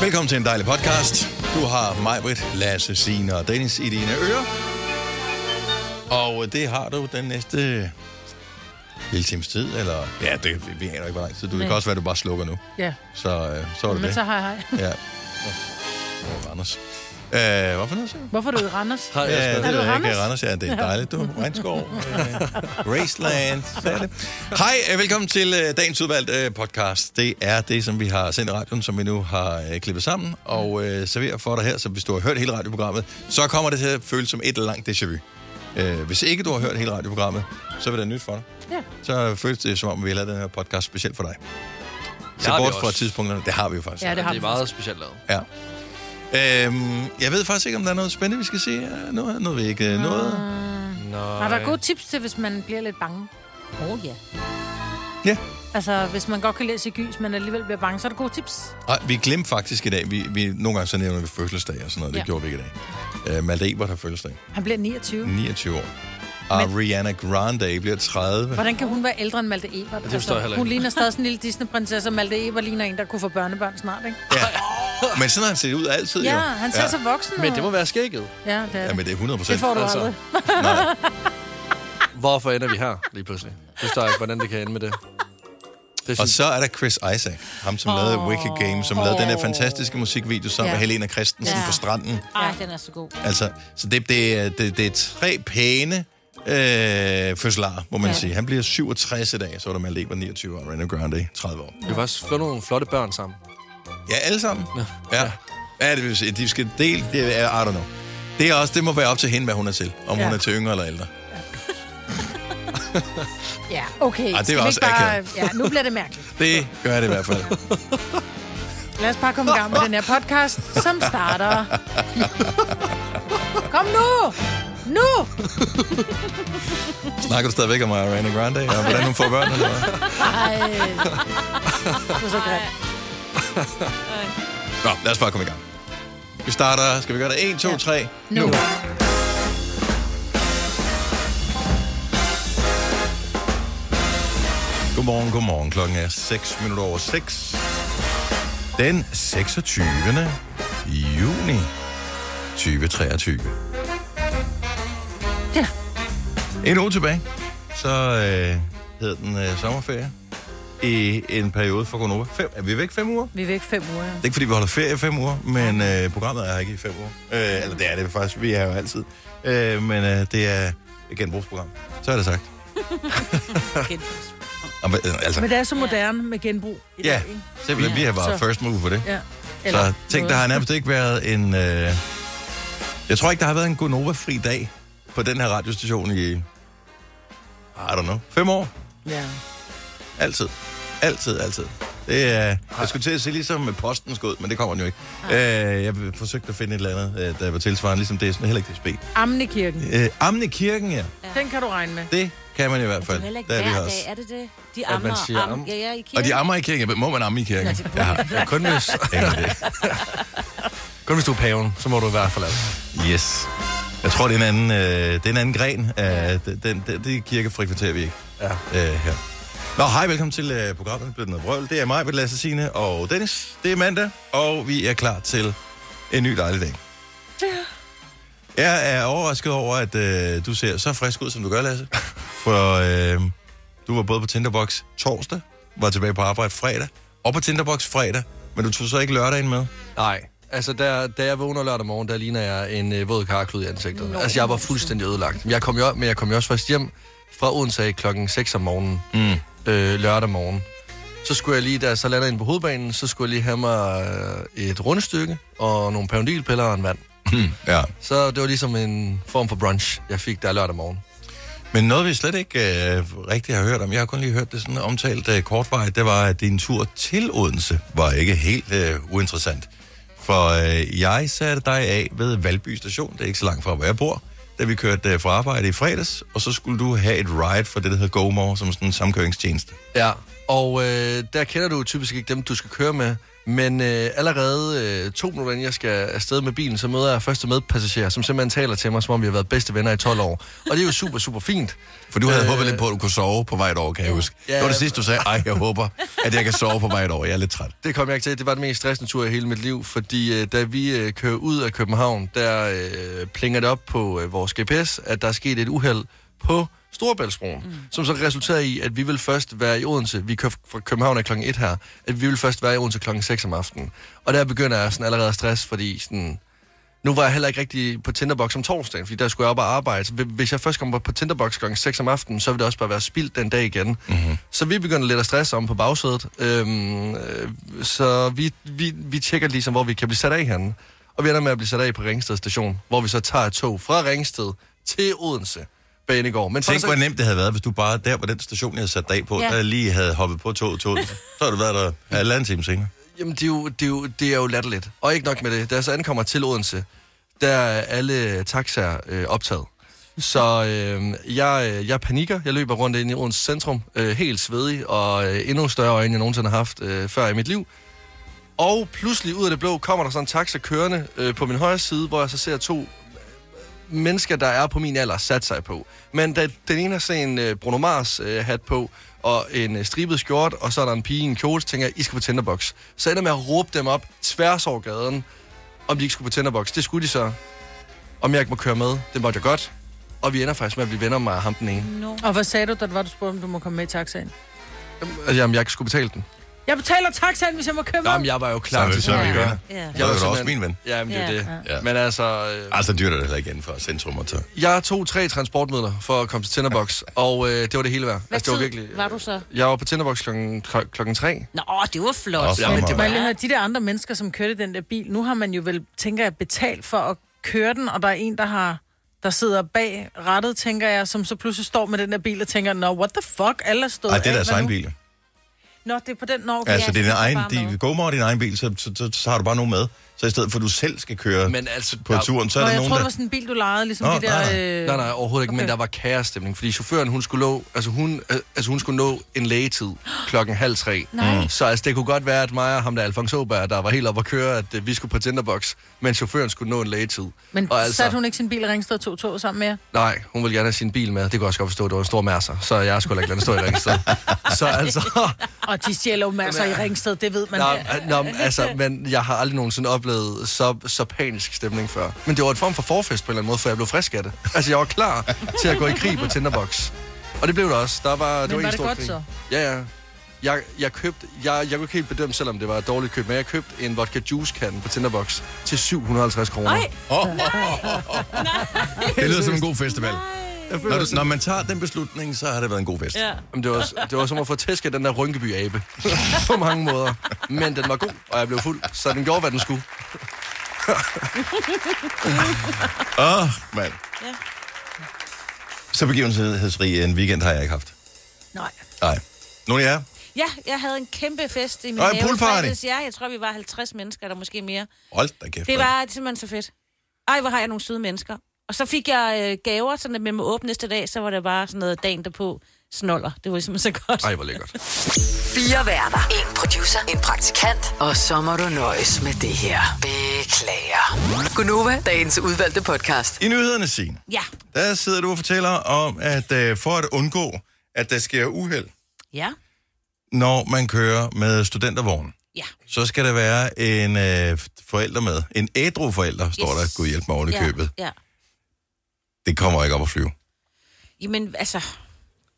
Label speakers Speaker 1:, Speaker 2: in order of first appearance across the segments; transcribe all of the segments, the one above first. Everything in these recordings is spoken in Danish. Speaker 1: Velkommen til en dejlig podcast. Du har mig, Britt, Lasse, Signe og Dennis i dine ører. Og det har du den næste lille times tid, eller... Ja, det, vi, vi aner ikke, hvor lang tid. Du, det
Speaker 2: Nej.
Speaker 1: kan også være, at du bare slukker nu.
Speaker 2: Ja,
Speaker 1: Så, øh, så er det
Speaker 2: men
Speaker 1: det.
Speaker 2: så hej hej.
Speaker 1: Ja. Oh, Anders. Øh, hvad for noget, siger du?
Speaker 2: Hvorfor er du i Randers?
Speaker 3: Har jeg
Speaker 1: Ja,
Speaker 3: også
Speaker 1: det
Speaker 3: været.
Speaker 1: ved
Speaker 2: du
Speaker 1: jeg ikke.
Speaker 2: Randers?
Speaker 1: Randers, ja, det er dejligt, du. Regnskov. Øh, Raceland. så er det. Hej, øh, velkommen til øh, dagens udvalgte øh, podcast. Det er det, som vi har sendt i radioen, som vi nu har øh, klippet sammen og øh, serverer for dig her. Så hvis du har hørt hele radioprogrammet, så kommer det til at føles som et langt déjà vu. Øh, hvis ikke du har hørt hele radioprogrammet, så vil det nyt for dig.
Speaker 2: Ja.
Speaker 1: Så føles det som om, vi har lavet den her podcast specielt for dig. Så
Speaker 3: har vi
Speaker 1: bort fra
Speaker 3: også.
Speaker 1: tidspunkterne, det har vi jo faktisk.
Speaker 2: Ja, det har
Speaker 3: Det
Speaker 2: vi
Speaker 3: er meget specielt lavet.
Speaker 1: Ja. Øhm, jeg ved faktisk ikke, om der er noget spændende, vi skal se øh, nu. er Noget vi ikke
Speaker 3: Ah.
Speaker 1: øh, noget.
Speaker 3: Nej.
Speaker 2: Har der gode tips til, hvis man bliver lidt bange? Åh oh, ja.
Speaker 1: Ja.
Speaker 2: Altså, hvis man godt kan læse i gys, men alligevel bliver bange, så er der gode tips.
Speaker 1: Og vi glemte faktisk i dag, vi, vi nogle gange så nævner vi fødselsdag og sådan noget. Det
Speaker 2: Ja.
Speaker 1: gjorde vi ikke i dag. Øh, Malte Ebert har fødselsdag.
Speaker 2: Han bliver 29.
Speaker 1: 29 år. Og Rihanna Grande bliver 30.
Speaker 2: Hvordan kan hun være ældre end Malte Ebert? Det
Speaker 3: forstår jeg heller
Speaker 2: hun
Speaker 3: ikke.
Speaker 2: ligner stadig sådan en lille Disney-prinsesse, og Malte Ebert ligner en, der kunne få børnebørn snart, ikke?
Speaker 1: Men sådan har han set ud altid,
Speaker 2: Ja,
Speaker 1: jo.
Speaker 2: han ser ja. så voksen ud.
Speaker 3: Men det må være skægget.
Speaker 2: Ja, det er
Speaker 1: Ja,
Speaker 2: det.
Speaker 1: men det er 100 procent.
Speaker 2: Det får du
Speaker 3: altså.
Speaker 2: aldrig.
Speaker 3: Hvorfor ender vi her lige pludselig? Jeg forstår ikke, hvordan det kan ende med det. det
Speaker 1: Og
Speaker 3: synes,
Speaker 1: så er der Chris Isaac, ham som oh. lavede Wicked Game, som oh. lavede den der fantastiske musikvideo sammen
Speaker 2: Ja.
Speaker 1: med Helena Christensen
Speaker 2: Ja.
Speaker 1: på stranden.
Speaker 2: Ej, den er så god.
Speaker 1: Altså, så det, det, er- det, det er tre pæne øh, fødselarer, må man ja.
Speaker 2: Ja.
Speaker 1: sige. Han bliver 67 i dag, så er der Malte Ebert 29 og Rene Grande 30 år.
Speaker 3: vi har faktisk fået nogle flotte børn sammen.
Speaker 1: Ja, alle sammen. Ja. ja. det vil sige, de skal dele, det er, I don't know. Det, er også, det må være op til hende, hvad hun er til. Om ja.
Speaker 2: Ja.
Speaker 1: hun er til yngre eller ældre.
Speaker 2: Ja, okay.
Speaker 1: var
Speaker 2: Skal vi ikke
Speaker 1: også
Speaker 2: bare... Ja, nu bliver det mærkeligt.
Speaker 1: Det gør det i hvert fald.
Speaker 2: Lad os bare komme i gang med den her podcast, som starter. Kom nu! Nu!
Speaker 1: Snakker du stadigvæk om Rene Grande og hvordan hun får børn? Eller hvad?
Speaker 2: Ej. Det var så grimt.
Speaker 1: Nå, lad os bare komme i gang. Vi starter, skal vi gøre det? 1, 2, 3, nu.
Speaker 2: Nu.
Speaker 1: Godmorgen, godmorgen. Klokken er 6 minutter over 6. Den 26. juni 2023.
Speaker 2: Ja.
Speaker 1: En uge tilbage, så øh, hed den øh, sommerferie i en periode for Gonova. Fem, er vi væk fem uger?
Speaker 2: Vi er væk fem uger.
Speaker 1: Det er ikke, fordi vi holder ferie i fem uger, men øh, programmet er her ikke i fem uger. Øh, eller det er det faktisk, vi er jo altid. Øh, men øh, det er et genbrugsprogram. Så er det sagt. Og, øh, altså,
Speaker 2: Men det er så moderne med genbrug. i dag,
Speaker 1: ja,
Speaker 2: ikke?
Speaker 1: simpelthen, vi har været
Speaker 2: Så-
Speaker 1: first move på det.
Speaker 2: ja.
Speaker 1: Så tænk,
Speaker 2: noget.
Speaker 1: der har nærmest ikke været en... Øh, jeg tror ikke, der har været en Gonova-fri dag på den her radiostation i... I don't know. Fem år.
Speaker 2: Ja.
Speaker 1: Altid. Altid, altid. Det er, jeg skulle til at sige ligesom med posten skud, men det kommer den jo ikke. Øh, jeg forsøgte at finde et eller andet, øh, der var tilsvarende, ligesom det er sådan heller ikke DSB.
Speaker 2: Ammen i kirken.
Speaker 1: Øh, Amne Kirken, ja.
Speaker 2: Den kan du regne med.
Speaker 1: Det kan man i hvert fald.
Speaker 4: Det er heller ikke
Speaker 1: Der er vi
Speaker 4: hver
Speaker 1: her også.
Speaker 4: dag, er det det? De
Speaker 3: At man
Speaker 4: ammer.
Speaker 3: siger am.
Speaker 4: Ja, ja, i kirken.
Speaker 1: Og de ammer i kirken. Må man amme i kirken?
Speaker 4: det må
Speaker 1: jeg har jeg har kun hvis... Aner det ikke.
Speaker 3: Kun hvis du er paven, så må du være forladt.
Speaker 1: Yes. Jeg tror, det er en anden, øh, det er en anden gren. Øh, den, den, den, det kirke frekventerer vi ikke
Speaker 3: Ja.
Speaker 1: øh, her. Nå, hej, velkommen til øh, programmet Blivet Noget Brøl. Det er mig, Britt Lasse Signe og Dennis. Det er mandag, og vi er klar til en ny dejlig dag. Jeg er overrasket over, at øh, du ser så frisk ud, som du gør, Lasse. For øh, du var både på Tinderbox torsdag, var tilbage på arbejde fredag, og på Tinderbox fredag, men du tog så ikke lørdagen med.
Speaker 3: Nej. Altså, der, da jeg vågner lørdag morgen, der ligner jeg en øh, våd karklud i ansigtet. Nå, altså, jeg var fuldstændig ødelagt. Men Jeg kom jo, men jeg kom jo også først hjem fra Odense klokken 6 om morgenen, mm. øh, lørdag morgen. Så skulle jeg lige, da jeg så landede ind på hovedbanen, så skulle jeg lige have mig øh, et rundstykke og nogle pavendilpiller og en vand.
Speaker 1: Ja.
Speaker 3: Så det var ligesom en form for brunch, jeg fik der lørdag morgen.
Speaker 1: Men noget, vi slet ikke øh, rigtig har hørt om, jeg har kun lige hørt det sådan omtalt øh, kortvarigt, det var, at din tur til Odense var ikke helt øh, uinteressant. For øh, jeg satte dig af ved Valby station, det er ikke så langt fra, hvor jeg bor, da vi kørte øh, fra arbejde i fredags, og så skulle du have et ride for det, der hedder GoMore, som sådan en samkøringstjeneste.
Speaker 3: Ja, og øh, der kender du typisk ikke dem, du skal køre med, Men øh, allerede øh, to minutter inden jeg skal afsted med bilen, så møder jeg første medpassager, som simpelthen taler til mig, som om vi har været bedste venner i 12 år. Og det er jo super, super fint.
Speaker 1: For du havde øh... håbet lidt på, at du kunne sove på vej et år, kan jeg huske. Ja,
Speaker 3: Ja,
Speaker 1: det var det
Speaker 3: ja.
Speaker 1: sidste, du sagde, ej, jeg håber, at jeg kan sove på vej et år. Jeg er lidt træt.
Speaker 3: Det kom jeg ikke til. Det var den mest stressende tur i hele mit liv, fordi øh, da vi øh, kører ud af København, der øh, plinger det op på øh, vores GPS, at der er sket et uheld på Storebæltsbroen, mm. som så resulterede i, at vi vil først være i Odense, vi kører fra København er klokken 1 her, at vi vil først være i Odense klokken 6 om aftenen. Og der begynder jeg sådan allerede at stress, fordi sådan, nu var jeg heller ikke rigtig på Tinderbox om torsdagen, fordi der skulle jeg op og arbejde. Så hvi- Hvis jeg først kommer på Tinderbox kl. 6 om aftenen, så vil det også bare være spildt den dag igen. Mm-hmm. Så vi begynder lidt at stresse om på bagsædet. Øhm, øh, så vi, vi, vi tjekker ligesom, hvor vi kan blive sat af henne. Og vi ender med at blive sat af på Ringsted station, hvor vi så tager et tog fra Ringsted til Odense Banegård. Men
Speaker 1: Tænk,
Speaker 3: så-
Speaker 1: hvor nemt det havde været, hvis du bare der på den station, jeg havde sat dig på, ja.
Speaker 2: Ja.
Speaker 1: der lige havde hoppet på toget, toget. Så havde du været der halvanden time senere.
Speaker 3: Jamen, det er jo, det er jo, det er jo latterligt. Og ikke nok med det. Da jeg så ankommer til Odense, der er alle taxaer øh, optaget. Så øh, jeg, øh, jeg panikker. Jeg løber rundt ind i Odense centrum, øh, helt svedig og øh, endnu større øjne, end jeg nogensinde har haft øh, før i mit liv. Og pludselig ud af det blå kommer der sådan en taxa kørende øh, på min højre side, hvor jeg så ser to mennesker, der er på min alder, sat sig på. Men da den ene har sådan en øh, Bruno Mars øh, hat på, og en øh, stribet skjort, og så er der en pige i en kjole, så tænker jeg, I skal på Tinderbox. Så ender jeg med at råbe dem op tværs over gaden, om de ikke skulle på Tinderbox. Det skulle de så. Om jeg ikke må køre med, det måtte jeg godt. Og vi ender faktisk med at blive venner med ham den ene.
Speaker 2: No. Og hvad sagde du, da det var, du spurgte, om du må komme med i taxaen?
Speaker 3: Altså, jamen, jeg ikke skulle betale den.
Speaker 2: Jeg betaler taxaen, hvis jeg må køre med.
Speaker 3: Jamen, jeg var jo
Speaker 1: Så
Speaker 3: klar
Speaker 1: er vi-
Speaker 3: til
Speaker 1: så er vi
Speaker 3: at
Speaker 1: venner.
Speaker 3: gøre.
Speaker 4: Ja.
Speaker 1: Så er du da også
Speaker 3: simpelthen-
Speaker 1: min ven.
Speaker 3: Jamen, det er
Speaker 4: Ja,
Speaker 3: jo det.
Speaker 1: ja.
Speaker 3: Ja. Men altså... øh,
Speaker 1: Altså, dyrt er det heller ikke inden for centrum og tage.
Speaker 3: Jeg tog tre transportmidler for at komme til Tinderbox, og øh, det var det hele værd.
Speaker 4: Hvad
Speaker 3: det var øh,
Speaker 4: tid var du så?
Speaker 3: Jeg var på Tinderbox klokken, kl- klokken tre.
Speaker 4: Nå, det var flot.
Speaker 1: Også Jamen, det
Speaker 2: Man lige høre, de der andre mennesker, som kørte i den der bil, nu har man jo vel, tænker jeg, betalt for at køre den, og der er en, der har der sidder bag rettet, tænker jeg, som så pludselig står med den der bil og tænker, nå, what the fuck, alle er stået
Speaker 1: Ej, det er
Speaker 2: af,
Speaker 1: deres
Speaker 2: hvad
Speaker 1: egen
Speaker 2: nu?
Speaker 1: bil. jo.
Speaker 2: Nå, det er på den, nå, okay.
Speaker 1: Altså,
Speaker 4: så
Speaker 1: det er
Speaker 4: de
Speaker 1: din
Speaker 4: tager
Speaker 1: egen,
Speaker 4: bare
Speaker 1: din,
Speaker 4: med.
Speaker 1: go din egen bil, så, så, så, så, har du bare nogen med. Så i stedet for, at du selv skal køre
Speaker 3: Men altså,
Speaker 1: på
Speaker 3: der-
Speaker 1: turen, så
Speaker 2: Nå,
Speaker 1: er der
Speaker 2: jeg
Speaker 1: nogen,
Speaker 2: tror, det
Speaker 1: der...
Speaker 2: var sådan en bil, du lejede, ligesom
Speaker 1: Nå,
Speaker 2: de der...
Speaker 1: nej,
Speaker 2: øh,
Speaker 3: Nej, nej, overhovedet ikke, okay. men
Speaker 2: okay.
Speaker 3: der var kærestemning, fordi chaufføren, hun skulle, lå, altså hun, øh, altså hun skulle nå en lægetid klokken halv tre.
Speaker 4: Nej.
Speaker 3: Så altså, det kunne godt være, at mig og ham der, Alfonso Åberg, der var helt oppe at køre, at øh, vi skulle på Tinderbox, men chaufføren skulle nå en lægetid.
Speaker 2: Men
Speaker 3: og
Speaker 2: altså... satte hun ikke sin bil i Ringsted og tog toget sammen med jer?
Speaker 3: Nej, hun ville gerne have sin bil med. Det kunne jeg også godt forstå, det var en stor mærser, så jeg skulle ikke lade den stå i ringsted. så altså,
Speaker 2: Og de stjæler jo masser i Ringsted, det ved man.
Speaker 3: Nå, øh, nå, men altså, men jeg har aldrig nogensinde oplevet så, så panisk stemning før. Men det var en form for forfest på en eller anden måde, for jeg blev frisk af det. Altså, jeg var klar til at gå i krig på Tinderbox. Og det blev det også. Der var, det
Speaker 2: Men var
Speaker 3: var, en
Speaker 2: det
Speaker 3: stor
Speaker 2: godt
Speaker 3: krig.
Speaker 2: så?
Speaker 3: Ja, ja. Jeg, jeg købte, jeg, jeg kunne ikke helt bedømme, selvom det var et dårligt køb, men jeg købte en vodka juice kan på Tinderbox til 750 kroner.
Speaker 4: Ej,
Speaker 1: Åh, åh, åh, åh. Det lyder som en god festival.
Speaker 3: Jeg
Speaker 1: Når,
Speaker 3: føler,
Speaker 1: du, når man tager den beslutning, så har det været en god fest.
Speaker 4: ja.
Speaker 3: Jamen, det, var, det var som at få tæsk af den der Rynkeby-abe. på mange måder. Men den var god, og jeg blev fuld, så den gjorde, hvad den skulle.
Speaker 1: Åh, oh, mand.
Speaker 4: Ja.
Speaker 1: Så begivenhedsrig en weekend har jeg ikke haft.
Speaker 4: Nej.
Speaker 1: Nej. Nogle af jer?
Speaker 4: Ja, jeg havde en kæmpe fest i min
Speaker 1: Og en
Speaker 4: have.
Speaker 1: poolparty.
Speaker 4: i fredags. Ja, jeg tror, vi var 50 mennesker, eller måske mere.
Speaker 1: Hold da kæft.
Speaker 4: Det
Speaker 1: mand.
Speaker 4: var simpelthen så fedt. Ej, hvor har jeg nogle søde mennesker. Og så fik jeg øh, gaver, sådan at med mig åbne næste dag, så var det bare sådan noget dagen derpå. Snoller. Det var simpelthen så godt.
Speaker 3: Ej, hvor lækkert.
Speaker 5: Fire værter. En producer. En praktikant. Og så må du nøjes med det her. Beklager. Gunova, dagens udvalgte podcast.
Speaker 1: I nyhederne, Signe,
Speaker 4: Ja.
Speaker 1: der sidder du og fortæller om, at øh, for at undgå, at der sker uheld,
Speaker 4: Ja.
Speaker 1: når man kører med studentervogn,
Speaker 4: Ja.
Speaker 1: så skal der være en øh, forælder med. En ædru forælder, står
Speaker 4: Yes.
Speaker 1: der. Gud hjælp mig oven i
Speaker 4: ja.
Speaker 1: købet.
Speaker 4: Ja.
Speaker 1: Det kommer ikke op at flyve.
Speaker 4: Jamen, altså...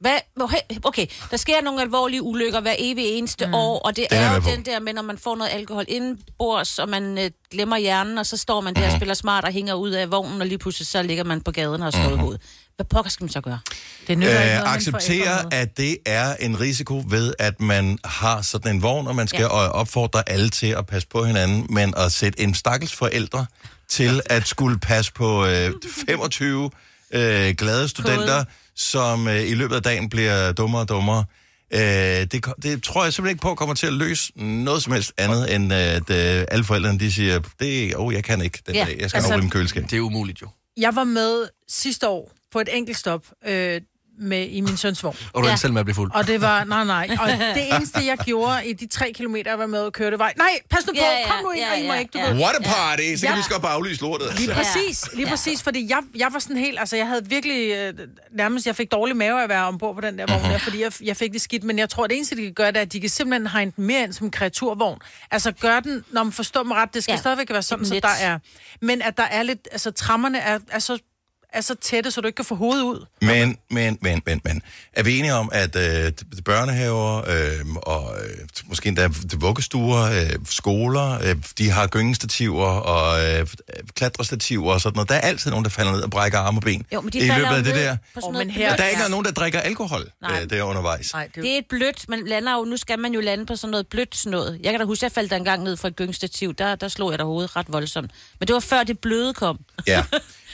Speaker 4: Hvad? okay, Okay, der sker nogle alvorlige ulykker hver evig eneste mm. år, og det
Speaker 1: Den er
Speaker 4: er
Speaker 1: jeg
Speaker 4: jo
Speaker 1: med på.
Speaker 4: den der med, når man får noget alkohol indenbords, og man øh, glemmer hjernen, og så står man der
Speaker 1: Mhm.
Speaker 4: og spiller smart og hænger ud af vognen, og lige pludselig så ligger man på gaden og har
Speaker 1: Mhm.
Speaker 4: slået mm. hovedet. Hvad pokker skal man så gøre?
Speaker 2: Det nytter ikke noget,
Speaker 1: Øh,
Speaker 2: man forældre
Speaker 1: acceptere,
Speaker 2: noget.
Speaker 1: at det er en risiko ved, at man har sådan en vogn, og man skal ja. opfordre alle til at passe på hinanden, men at sætte en stakkels forældre til at skulle passe på øh, 25 øh, glade studenter,
Speaker 4: Kode.
Speaker 1: som øh, i løbet af dagen bliver dummere og dummere. Øh, det, ko- det tror jeg simpelthen ikke på kommer til at løse noget som helst andet, end at øh, alle forældrene de siger, det, oh, jeg kan ikke den
Speaker 4: Ja,
Speaker 1: dag, jeg skal altså,
Speaker 2: altså-
Speaker 1: nok rymme køleskab.
Speaker 3: Det er umuligt jo.
Speaker 2: Jeg var med sidste år på et enkelt stop. Øh, med i min søns vogn.
Speaker 3: Og du endte selv med at blive fuld.
Speaker 2: Og det var, nej, nej. Og det eneste, jeg gjorde i de tre kilometer, jeg var med og kørte, var, nej, pas nu på,
Speaker 4: Ja, ja,
Speaker 2: kom nu ind,
Speaker 4: ja,
Speaker 2: og I må
Speaker 4: ja,
Speaker 2: ikke, du
Speaker 4: ja.
Speaker 2: ved.
Speaker 1: What a party! Så kan
Speaker 2: Ja.
Speaker 1: vi skal bare aflyse lortet.
Speaker 2: Lige
Speaker 1: Altså.
Speaker 2: præcis, lige
Speaker 4: Ja.
Speaker 2: præcis, fordi jeg, jeg var sådan helt, altså jeg havde virkelig, øh, nærmest jeg fik dårlig mave af at være ombord på den der vogn
Speaker 4: Mhm.
Speaker 2: der, fordi jeg, jeg fik det skidt, men jeg tror, det eneste, de kan gøre, det er, at de kan simpelthen hegne den mere ind som en kreaturvogn. Altså gør den, når man forstår mig ret, det skal ja.
Speaker 4: Ja.
Speaker 2: stadigvæk være sådan,
Speaker 4: Et
Speaker 2: så
Speaker 4: net.
Speaker 2: der er, men at der er lidt, altså trammerne er, er så er så tætte, så du ikke kan få hovedet ud.
Speaker 1: Men, men, men, men, men. Er vi enige om, at øh, d- børnehaver øh, og øh, måske endda d- vuggestuer, øh, skoler, øh, de har gyngestativer og øh, klatrestativer og sådan noget. Der er altid nogen, der falder ned og brækker arme og ben
Speaker 4: Jo, men de
Speaker 1: i løbet
Speaker 4: falder jo
Speaker 1: af det
Speaker 4: ned
Speaker 1: der.
Speaker 4: på sådan
Speaker 2: Åh,
Speaker 4: noget
Speaker 2: men
Speaker 1: Og
Speaker 2: her-
Speaker 1: der er ikke
Speaker 2: Ja.
Speaker 1: nogen, der drikker alkohol
Speaker 4: Nej.
Speaker 1: øh, der undervejs.
Speaker 2: Nej, det,
Speaker 4: Det er et blødt, man lander jo, nu skal man jo lande på sådan noget blødt noget. Jeg kan da huske, jeg faldt der engang ned fra et gyngestativ, der, der slog jeg der hovedet ret voldsomt. Men det var før det bløde kom.
Speaker 1: Ja.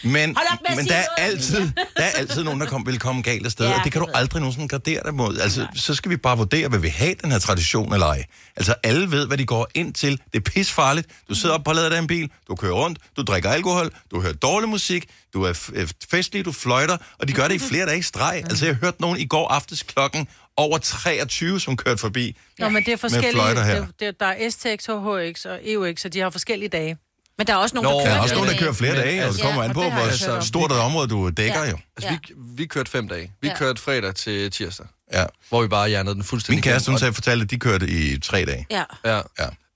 Speaker 1: Men,
Speaker 4: Hold op med at
Speaker 1: men
Speaker 4: sige
Speaker 1: der, er
Speaker 4: noget.
Speaker 1: altid, der er altid nogen, der kom, vil komme galt af sted,
Speaker 4: Ja,
Speaker 1: og det kan du
Speaker 4: det ved jeg.
Speaker 1: aldrig nogensinde gardere dig mod. Altså, så skal vi bare vurdere, vil vi have den her tradition eller ej. Altså, alle ved, hvad de går ind til. Det er pisfarligt. Du sidder op på ladet af en bil, du kører rundt, du drikker alkohol, du hører dårlig musik, du er f- øh, festlig, du fløjter, og de gør det i flere dage i streg. Altså, jeg hørte nogen i går aftes klokken over 23, som kørte forbi.
Speaker 2: Nå, men det er forskellige.
Speaker 1: fløjter her.
Speaker 2: Det, det, der er STX, HHX og E EUX, og de har forskellige dage.
Speaker 4: Men der er også nogen,
Speaker 3: Nå,
Speaker 4: der
Speaker 1: Der
Speaker 4: kører.
Speaker 1: er også
Speaker 4: flere
Speaker 1: nogen, der
Speaker 4: dage.
Speaker 1: kører flere
Speaker 3: Men
Speaker 1: dage, og det
Speaker 3: altså-
Speaker 1: kommer
Speaker 2: Ja,
Speaker 1: an
Speaker 2: og
Speaker 1: på,
Speaker 2: det har
Speaker 1: hvor
Speaker 2: jeg hørt om.
Speaker 1: stort et område du dækker jo.
Speaker 3: Altså, ja. vi, vi kørte fem dage. Vi
Speaker 4: Ja.
Speaker 3: kørte fredag til tirsdag,
Speaker 1: Ja.
Speaker 3: hvor vi bare hjernede den fuldstændig.
Speaker 1: Min kæreste, hun
Speaker 3: igennem.
Speaker 1: sagde, fortalte, at de kørte i tre dage.
Speaker 4: Ja.
Speaker 3: Ja.
Speaker 1: Ja.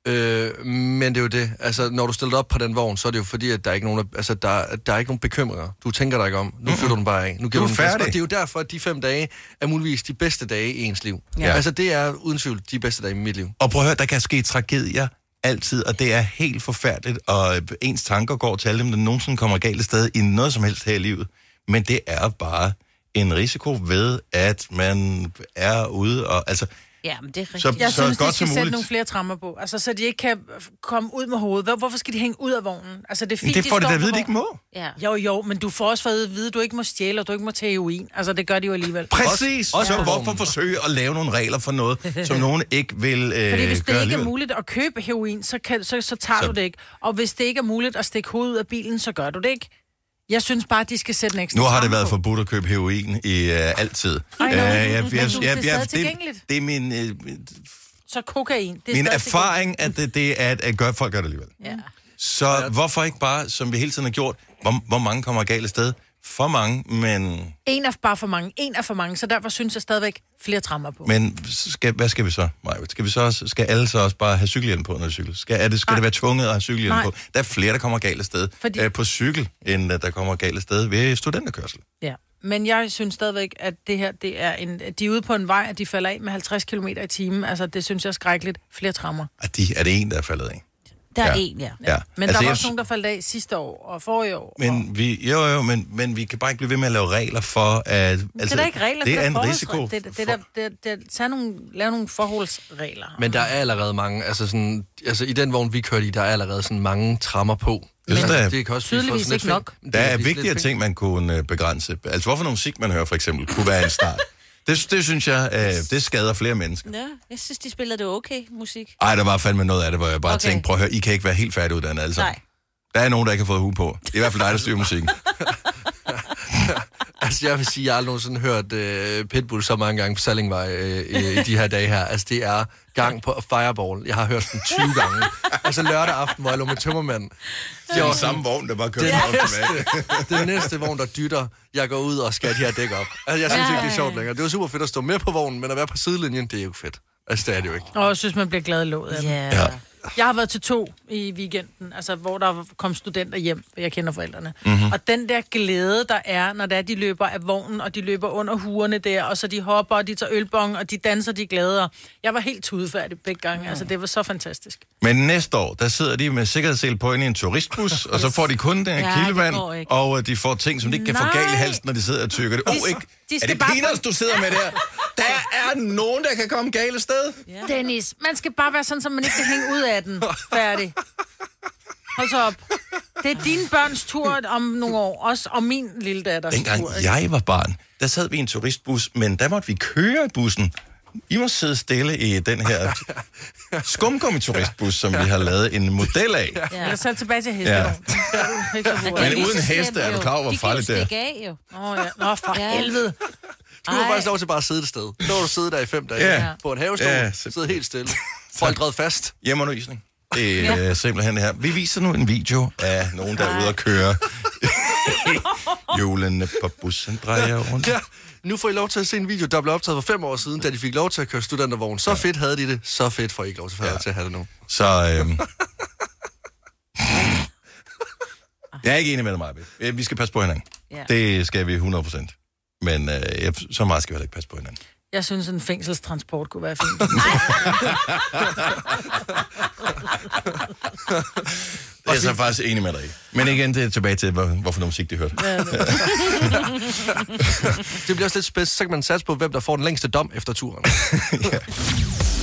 Speaker 3: Øh, men det er jo det. Altså, når du stiller dig op på den vogn, så er det jo fordi, at der er ikke nogen, der- altså, der, der er ikke nogen bekymringer. Du tænker dig ikke om. Nu flytter du den bare af. Nu giver
Speaker 1: Du
Speaker 3: den
Speaker 1: er
Speaker 3: gas.
Speaker 1: færdig.
Speaker 3: Og det er jo derfor, at de fem dage er muligvis de bedste dage i ens liv.
Speaker 1: Ja.
Speaker 3: Ja. Altså, det er uden tvivl de bedste dage i mit liv.
Speaker 1: Og prøv at høre, der kan ske tragedier altid, og det er helt forfærdeligt, og øh, ens tanker går til alle dem, der nogensinde kommer galt af sted i noget som helst her i livet. Men det er bare en risiko ved, at man er ude og... Altså,
Speaker 4: ja, men det er rigtigt.
Speaker 1: så,
Speaker 2: Jeg
Speaker 1: så
Speaker 2: så synes,
Speaker 1: godt
Speaker 2: de skal
Speaker 1: som
Speaker 2: sætte
Speaker 1: muligt.
Speaker 2: nogle flere trammer på, altså, så de ikke kan f- komme ud med hovedet. Hvor- Hvorfor skal de hænge ud af vognen? Altså, det, er fint,
Speaker 1: Men det får de
Speaker 2: står
Speaker 1: da
Speaker 2: på
Speaker 1: at vide, de ikke
Speaker 2: vognen.
Speaker 1: må.
Speaker 4: Ja.
Speaker 2: Jo, jo, men du får også fået at vide, at du ikke må stjæle, og du ikke må tage heroin. Altså, det gør de jo alligevel.
Speaker 1: Præcis. Også,
Speaker 3: også
Speaker 1: også
Speaker 3: på
Speaker 1: hvorfor
Speaker 3: vognen.
Speaker 1: forsøge at lave nogle regler for noget, som nogen ikke vil øh,
Speaker 2: Fordi hvis
Speaker 1: gøre
Speaker 2: det ikke er
Speaker 1: alligevel?
Speaker 2: muligt at købe heroin, så, kan, så, så tager
Speaker 1: Så-
Speaker 2: så... du det ikke. Og hvis det ikke er muligt at stikke hovedet ud af bilen, så gør du det ikke. Jeg synes bare, at de skal sætte en ekstra
Speaker 1: Nu har det
Speaker 2: tramme
Speaker 1: været
Speaker 2: på.
Speaker 1: forbudt at købe heroin i øh, altid.
Speaker 2: nå.
Speaker 1: Øh, jeg- jeg-
Speaker 2: Men du-
Speaker 1: jeg-
Speaker 2: det er
Speaker 1: jeg-
Speaker 2: stadig
Speaker 1: det-
Speaker 2: tilgængeligt.
Speaker 1: Det er min, øh,
Speaker 2: Så kokain. Det er
Speaker 1: min
Speaker 2: stadig-
Speaker 1: erfaring, at det, det er, at, at gør, folk gør det alligevel.
Speaker 2: Ja.
Speaker 1: Så hvorfor ikke bare, som vi hele tiden har gjort, hvor, hvor mange kommer galt af sted? For mange, men,
Speaker 2: En er bare for mange. En er for mange, så derfor synes jeg stadigvæk flere trammer på.
Speaker 1: men skal, hvad skal vi så, Maja? Skal, vi så også, skal alle så også bare have cykelhjelm på, når de cykler? Skal, er det, skal det være tvunget at have cykelhjelm
Speaker 2: Nej.
Speaker 1: på? Der er flere, der kommer galt af sted Fordi...
Speaker 2: Fordi-
Speaker 1: øh, på cykel, end at der kommer galt af sted ved studenterkørsel.
Speaker 2: Ja, men jeg synes stadigvæk, at det her, det er en, at de er ude på en vej, og de falder af med 50 km i timen. Altså, det synes jeg er skrækkeligt. Flere trammer.
Speaker 1: Og de, er det en, der er faldet af?
Speaker 4: Der er
Speaker 1: Ja.
Speaker 4: en, ja.
Speaker 1: Ja.
Speaker 2: Men altså, der var
Speaker 1: jeg-
Speaker 2: også nogen, der faldt af sidste år og forrige år. og...
Speaker 1: Men vi, jo, jo, men, men vi kan bare ikke blive ved med at lave regler for, at... Altså,
Speaker 2: Altså, det er da ikke regler,
Speaker 1: det er
Speaker 2: der
Speaker 1: en
Speaker 2: forholds-
Speaker 1: risiko.
Speaker 2: Det, det, det, der, det, det, tag nogle, lav nogle forholdsregler.
Speaker 3: Men der er allerede mange, altså, sådan, altså i den vogn, vi kørte i, der er allerede sådan mange trammer på.
Speaker 1: Jeg synes, der er-
Speaker 3: altså, det kan også blive for
Speaker 2: Tydeligvis
Speaker 3: sådan lidt
Speaker 2: ikke
Speaker 3: fæng-
Speaker 2: nok.
Speaker 3: Det
Speaker 1: Der
Speaker 3: kan
Speaker 1: er
Speaker 3: blive
Speaker 1: vigtigere
Speaker 3: lidt fæng-
Speaker 1: ting, man kunne øh, begrænse. Altså, hvorfor noget musik, man hører, for eksempel, kunne være en start. Det, det synes jeg, øh, det skader flere mennesker.
Speaker 4: Ja, jeg synes, de spillede det okay, musik.
Speaker 1: Ej, der var fandme noget af det, hvor jeg bare okay.
Speaker 4: Okay.
Speaker 1: tænkte, prøv at høre, I kan ikke være helt færdiguddannet alle sammen.
Speaker 4: Nej.
Speaker 1: Der er nogen, der ikke har fået hue på. Det er i hvert fald dig, der styrer musikken.
Speaker 3: Altså, jeg vil sige, jeg har aldrig nogensinde hørt øh, Pitbull så mange gange på Sallingvej øh, i, i de her dage her. Altså, det er gang på Fireball. Jeg har hørt den 20 gange. Altså, lørdag aften, hvor jeg lå med tømmermand.
Speaker 1: Det var samme vogn, der bare kørte
Speaker 3: Det-
Speaker 1: frem og tilbage.
Speaker 3: Den næste vogn, der dytter, jeg går ud og skal de her dæk op. Altså, jeg synes ikke, det er sjovt længere. Det var super fedt at stå med på vognen, men at være på sidelinjen, det er jo ikke fedt. Altså, det er det jo ikke.
Speaker 2: Og jeg synes, man bliver glad i låget af det.
Speaker 4: Ja.
Speaker 1: Ja.
Speaker 2: Jeg har været til to i weekenden, altså, hvor der kom studenter hjem, for jeg kender forældrene.
Speaker 1: Mhm.
Speaker 2: Mm-hmm. Og den der glæde, der er, når det er, de løber af vognen, og de løber under huerne der, og så de hopper, og de tager ølbong, og de danser, de er glade. Og jeg var helt tudefærdig begge gange. Altså, det var så fantastisk.
Speaker 1: Men næste år, der sidder de med sikkerhedssel på inde i en turistbus, og så får de kun den her
Speaker 4: Ja, det
Speaker 1: kildevand,
Speaker 4: går ikke.
Speaker 1: og øh, de får ting, som de ikke kan få
Speaker 2: Nej.
Speaker 1: galt i halsen, når de sidder og tykker det. Åh, oh, ikke?
Speaker 2: de
Speaker 1: er
Speaker 2: skal
Speaker 1: det
Speaker 2: bare-
Speaker 1: peanuts, du sidder med der? Der er nogen, der kan komme galt af sted.
Speaker 2: Dennis, man skal bare være sådan, så man ikke kan hænge ud af den. Færdig. Hold så op. Det er dine børns tur om nogle år, også og min lille datters tur.
Speaker 1: Dengang
Speaker 2: ikke?
Speaker 1: jeg var barn, der sad vi i en turistbus, men der måtte vi køre i bussen. I må sidde stille i den her skumgummi-turistbus, som vi har lavet en model af.
Speaker 4: Ja.
Speaker 2: Eller så tilbage til hesten.
Speaker 1: Ja.
Speaker 2: Ja. Men
Speaker 1: uden heste er du klar over, hvor farligt det er?
Speaker 4: De kan jo stikke af, jo.
Speaker 2: Åh, ja. Nå, for
Speaker 4: Ja.
Speaker 2: helvede.
Speaker 3: Nu har du
Speaker 4: Ej.
Speaker 3: faktisk lov til bare at sidde et sted. Nu har du siddet der i fem dage
Speaker 1: Ja.
Speaker 3: på en havestol,
Speaker 1: Ja,
Speaker 3: ja,
Speaker 1: så-
Speaker 3: siddet helt stille, foldret fast.
Speaker 1: Hjemmeundervisning. Det er ja. simpelthen det her. Vi viser nu en video af nogen, der er ude at køre. Julen på bussen drejer rundt.
Speaker 3: Ja, nu får I lov til at se en video, der blev optaget for fem år siden, da de fik lov til at køre studentervogn. Så fedt havde de det, så fedt får I ikke lov til, ja. til at have det nu.
Speaker 1: Så øhm... Jeg er ikke enig med dig, Maja. Vi skal passe på hinanden.
Speaker 4: Ja.
Speaker 1: Det skal vi 100%. Men øh, jeg- så meget skal vi heller ikke passe på hinanden.
Speaker 2: Jeg synes, en fængselstransport kunne være fint.
Speaker 1: Det er jeg så faktisk enig med dig i. Men igen, det er tilbage til, hvor- hvorfor noget musik de hørte.
Speaker 2: Ja, det-
Speaker 3: Det bliver også lidt spids, så kan man satse på, hvem der får den længste dom efter turen.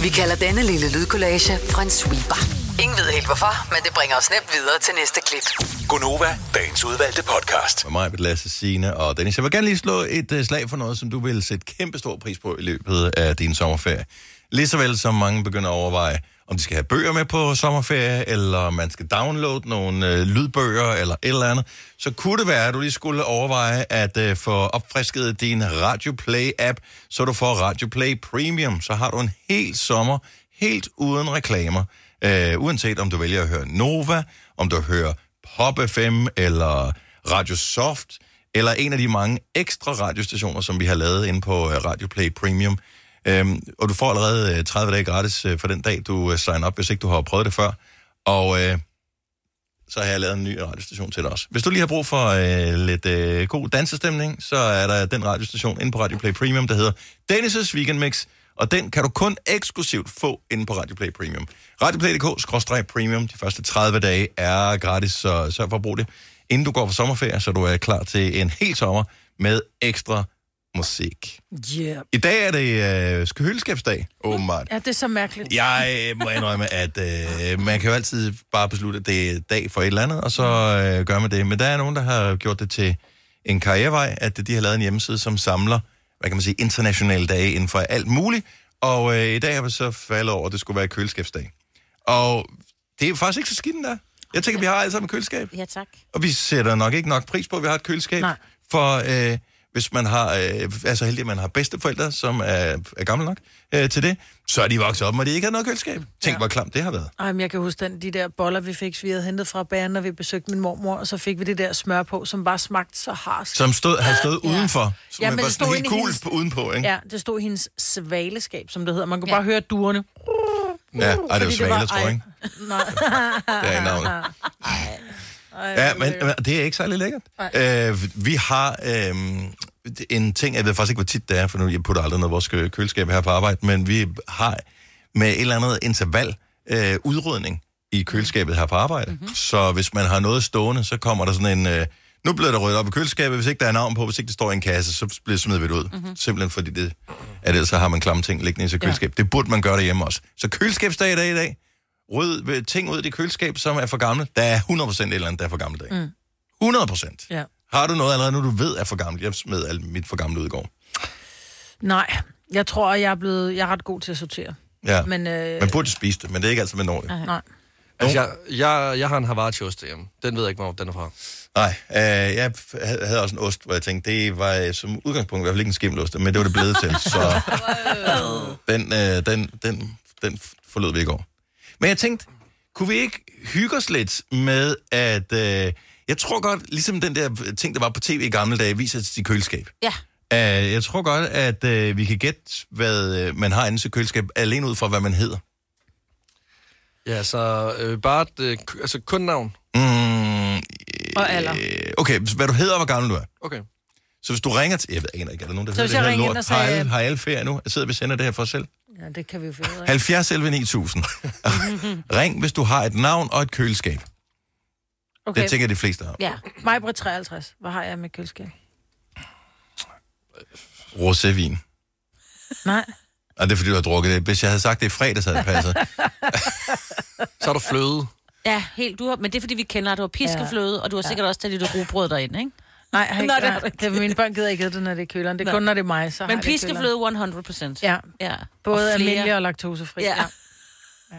Speaker 5: Vi kalder denne lille lydkollage en sweeper. Ingen ved helt hvorfor, men det bringer os nemt videre til næste klip.
Speaker 6: Gunova, dagens udvalgte podcast.
Speaker 1: Med mig, Lasse, Signe og Dennis. Jeg vil gerne lige slå et uh, slag for noget, som du vil sætte kæmpe stor pris på i løbet af din sommerferie. Lige så vel som mange begynder at overveje, om de skal have bøger med på sommerferie, eller om man skal downloade nogle øh, lydbøger, eller et eller andet, så kunne det være, at du lige skulle overveje at øh, få opfrisket din Radio Play-app, så du får Radio Play Premium. Så har du en hel sommer helt uden reklamer. Øh, uanset om du vælger at høre Nova, om du hører Pop FM, eller Radio Soft, eller en af de mange ekstra radiostationer, som vi har lavet inde på øh, Radio Play Premium. Øhm, og du får allerede øh, 30 dage gratis øh, for den dag, du øh, signer op, hvis ikke du har prøvet det før. Og øh, så har jeg lavet en ny radiostation til dig også. Hvis du lige har brug for øh, lidt øh, god dansestemning, så er der den radiostation inde på Radio Play Premium, der hedder Dennis' Weekend Mix, og den kan du kun eksklusivt få inde på Radio Play Premium. Radioplay.dk-premium, de første 30 dage er gratis, så sørg for at bruge det, inden du går på sommerferie, så du er klar til en hel sommer med ekstra musik.
Speaker 2: yeah.
Speaker 1: I dag er det øh, køleskabsdag, åbenbart.
Speaker 2: Ja, det er så mærkeligt.
Speaker 1: Jeg øh, må indrømme, at øh, man kan jo altid bare beslutte, at det er dag for et eller andet, og så øh, gør man det. Men der er nogen, der har gjort det til en karrierevej, at de har lavet en hjemmeside, som samler, hvad kan man sige, internationale dage inden for alt muligt. Og øh, i dag har vi så faldet over, at det skulle være køleskabsdag. Og det er faktisk ikke så skidt der. Jeg tænker, vi har alle sammen et køleskab.
Speaker 4: Ja, tak.
Speaker 1: Og vi sætter nok ikke nok pris på, at vi har et køleskab.
Speaker 2: Nej.
Speaker 1: For øh, hvis man har, øh, er så heldig, at man har bedsteforældre, som er, er gamle nok øh, til det, så er de vokset op, og de ikke har noget køleskab. Tænk, ja. hvor klamt det har været.
Speaker 2: Ej, men jeg kan huske den, de der boller, vi fik, vi havde hentet fra bæren, når vi besøgte min mormor, og så fik vi det der smør på, som bare smagte så harsk.
Speaker 1: Som stod, har stået ja. udenfor. Som
Speaker 2: Ja,
Speaker 1: ja,
Speaker 2: men
Speaker 1: men var
Speaker 2: det
Speaker 1: sådan
Speaker 2: stod
Speaker 1: helt
Speaker 2: inde i
Speaker 1: cool
Speaker 2: hendes-
Speaker 1: på, udenpå, ikke?
Speaker 2: Ja, det stod i hendes svaleskab, som det hedder. Man kunne
Speaker 4: Ja.
Speaker 2: bare høre duerne.
Speaker 1: Ja, Ej, det er jo
Speaker 2: Fordi det var-
Speaker 1: svale, tror jeg,
Speaker 2: ej.
Speaker 1: ikke?
Speaker 2: Nej.
Speaker 1: Det er i navnet. Ja, men, men det er ikke særlig lækkert. Øh, vi har øh, en ting, jeg ved faktisk ikke, hvor tit det er, for nu jeg putter aldrig noget i vores kø- køleskab her på arbejde, men vi har med et eller andet interval øh, udrydning i køleskabet her på arbejde. Mm-hmm. Så hvis man har noget stående, så kommer der sådan en... Øh, nu bliver der ryddet op i køleskabet, hvis ikke der er navn på, hvis ikke det står i en kasse, så bliver smidt det ud. Mm-hmm. Simpelthen fordi det, at ellers så har man klamme ting liggende i sit køleskab. Ja. Det burde man gøre derhjemme også. Så køleskabsdag i dag i dag, ryd øh, ting ud i det køleskab, som er for gamle. Der er 100% et eller andet, der er for gammelt dag. Mm. 100%.
Speaker 2: Ja.
Speaker 1: Har du noget allerede nu, du ved er for gammelt? Jeg smed alt mit for gamle ud i går.
Speaker 2: Nej, jeg tror, jeg er blevet... Jeg er ret god til at sortere.
Speaker 1: Ja. Men,
Speaker 2: Men øh,
Speaker 1: man burde spise det, men det er ikke altid, man når det.
Speaker 2: nej.
Speaker 3: Altså, jeg, jeg, jeg har en Havarti-ost derhjemme. Den ved jeg ikke, hvor den er fra.
Speaker 1: Nej, øh, jeg f- havde havde også en ost, hvor jeg tænkte, det var øh, som udgangspunkt i hvert fald ikke en skimmelost, men det var det blevet til. Så den, øh, den, den, den forlod vi i går. Men jeg tænkte, kunne vi ikke hygge os lidt med, at øh, jeg tror godt, ligesom den der ting, der var på tv i gamle dage, viser til køleskab.
Speaker 4: Ja,
Speaker 1: Uh, jeg tror godt, at uh, vi kan gætte, hvad uh, man har inde i sit køleskab, alene ud fra, hvad man hedder.
Speaker 3: Ja, så øh, bare et, øh, k- altså, kun navn.
Speaker 1: Mm,
Speaker 2: Og alder.
Speaker 1: øh, okay, hvad du hedder, og hvor gammel du er.
Speaker 3: Okay.
Speaker 1: Så hvis du ringer til... Jeg ved aner ikke, er der nogen, der
Speaker 2: Så hvis
Speaker 1: hedder
Speaker 2: jeg
Speaker 1: det her
Speaker 2: ringer
Speaker 1: lort?
Speaker 2: ind og
Speaker 1: Har
Speaker 2: sagde-
Speaker 1: alle- Har alle ferie nu? Jeg sidder og sender det her for os selv.
Speaker 2: Ja, det kan vi jo finde ud af.
Speaker 1: 70 11 9000. Ring, hvis du har et navn og et køleskab. Okay.
Speaker 2: Okay,
Speaker 1: Det tænker jeg, de fleste har.
Speaker 4: ja.
Speaker 2: mig 53. Hvad har jeg med køleskab?
Speaker 1: Rosévin.
Speaker 2: Nej.
Speaker 1: Og det er, fordi du har drukket det. Hvis jeg havde sagt det i fredags, havde det passet.
Speaker 3: Så er der fløde.
Speaker 4: Ja, helt du har, men det er fordi, vi kender, at du har piskefløde, og du har sikkert også taget lidt rugbrød derinde, ikke?
Speaker 2: Nej, jeg har ikke,
Speaker 4: Nå,
Speaker 2: Nå,
Speaker 4: det
Speaker 2: det,
Speaker 4: har du
Speaker 2: det, er, mine børn gider ikke æde det, når det er køleren. Det er
Speaker 4: Nå.
Speaker 2: kun, når det er mig, så
Speaker 4: Men
Speaker 2: har det i køleren.
Speaker 4: piskefløde 100 procent.
Speaker 2: Ja,
Speaker 4: ja.
Speaker 2: både
Speaker 4: Og flere.
Speaker 2: almindelig og laktosefri.
Speaker 4: Ja.
Speaker 2: Ja.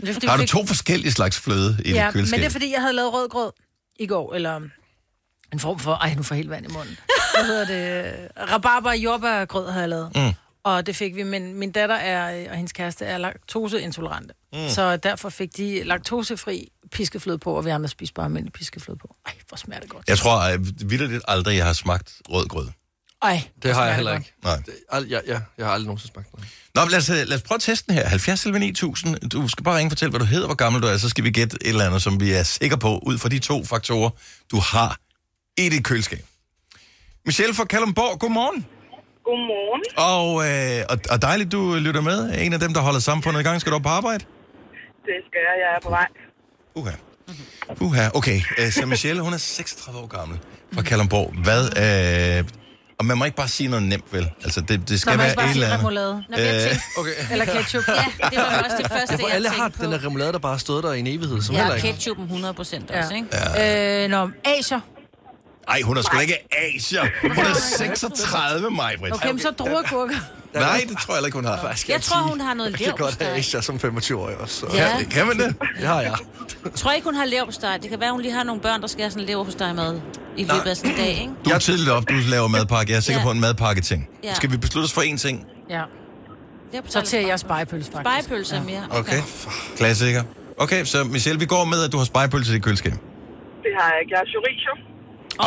Speaker 2: Det er, fordi,
Speaker 1: Har
Speaker 2: vi
Speaker 1: du
Speaker 2: fik-
Speaker 1: to forskellige slags fløde i dit
Speaker 2: Ja,
Speaker 1: køleskab?
Speaker 2: men det er, fordi jeg havde lavet rødgrød i går, eller en form for... Ej, nu får jeg helt vand i munden. Hvad hedder det? Rabarber og jordbærgrød havde jeg lavet. Mm. Og det fik vi, men min datter er, og hendes kæreste er laktoseintolerante. Mm. Så derfor fik de laktosefri piskefløde på, og vi andre spiste bare almindelig piskefløde på. Ej, hvor smager det godt.
Speaker 1: Jeg tror øh, vildt aldrig, jeg har smagt rød grød.
Speaker 2: Ej, hvor
Speaker 3: Det har
Speaker 2: smager
Speaker 3: jeg heller
Speaker 2: godt.
Speaker 3: ikke.
Speaker 1: Nej.
Speaker 3: Det, al, ja, ja, jeg har aldrig nogensinde smagt noget.
Speaker 4: Altså,
Speaker 1: Nå, men lad os, øh, lad os prøve at teste den her. 70 11 9000. Du skal bare ringe og fortælle, hvad du hedder, hvor gammel du er, så skal vi gætte et eller andet, som vi er sikre på, ud fra de to faktorer, du har i dit køleskab. Michelle fra Kalundborg, godmorgen.
Speaker 7: Godmorgen.
Speaker 1: Og, øh, og, og dejligt, du lytter med. En af dem, der holder samfundet i gang, skal du op på arbejde?
Speaker 7: Det skal jeg. Jeg er på vej.
Speaker 1: Uha. Uha, okay. Øh, Så Michelle, hun er 36 år gammel fra Kalundborg. Hvad, øh, og man må ikke bare sige noget nemt, vel? Altså, det, det skal
Speaker 2: Nå, man
Speaker 1: være
Speaker 2: skal bare
Speaker 1: et
Speaker 2: sige
Speaker 1: eller andet.
Speaker 2: remoulade.
Speaker 4: Når
Speaker 1: Øh,
Speaker 4: jeg tænkte,
Speaker 3: Okay.
Speaker 2: Eller ketchup.
Speaker 4: ja, det var også det første,
Speaker 3: For
Speaker 4: jeg
Speaker 3: alle har
Speaker 4: tænkte på.
Speaker 3: den der remoulade, der bare har stået der i en evighed, som ja, heller
Speaker 4: Ja,
Speaker 3: ikke.
Speaker 4: ketchupen 100 procent også, ikke?
Speaker 2: Ja. Øh, nå, Asia.
Speaker 1: Ej, hun er sgu da ikke Asia. Hun er 36, Majbrit.
Speaker 2: Okay, men så druergurker.
Speaker 1: Nej, det tror jeg heller ikke, hun har.
Speaker 4: Jeg tror, hun har noget
Speaker 3: Jeg kan godt have
Speaker 4: leverpostej.
Speaker 3: Asia som 25-årig også. Så.
Speaker 4: Ja.
Speaker 1: Kan, kan man det?
Speaker 3: Det har jeg.
Speaker 4: Jeg tror ikke, hun har leverpostej. Det kan være, hun lige har nogle børn, der skal have sådan en leverpostej med i løbet af sådan en dag, ikke?
Speaker 1: Du er tidligt op, du laver madpakke. Jeg er sikker
Speaker 4: Ja.
Speaker 1: på en madpakke-ting.
Speaker 4: Ja.
Speaker 1: Skal vi beslutte os for én ting?
Speaker 2: Ja.
Speaker 4: Leverpostej
Speaker 2: Så til jeg
Speaker 4: eller
Speaker 2: spejepølse, faktisk.
Speaker 4: spegepølse er mere.
Speaker 1: Okay. Klassiker. Okay, så Michelle, vi går med, at du har spejpølse i dit køleskab.
Speaker 7: Det har jeg ikke. Jeg er chorizo.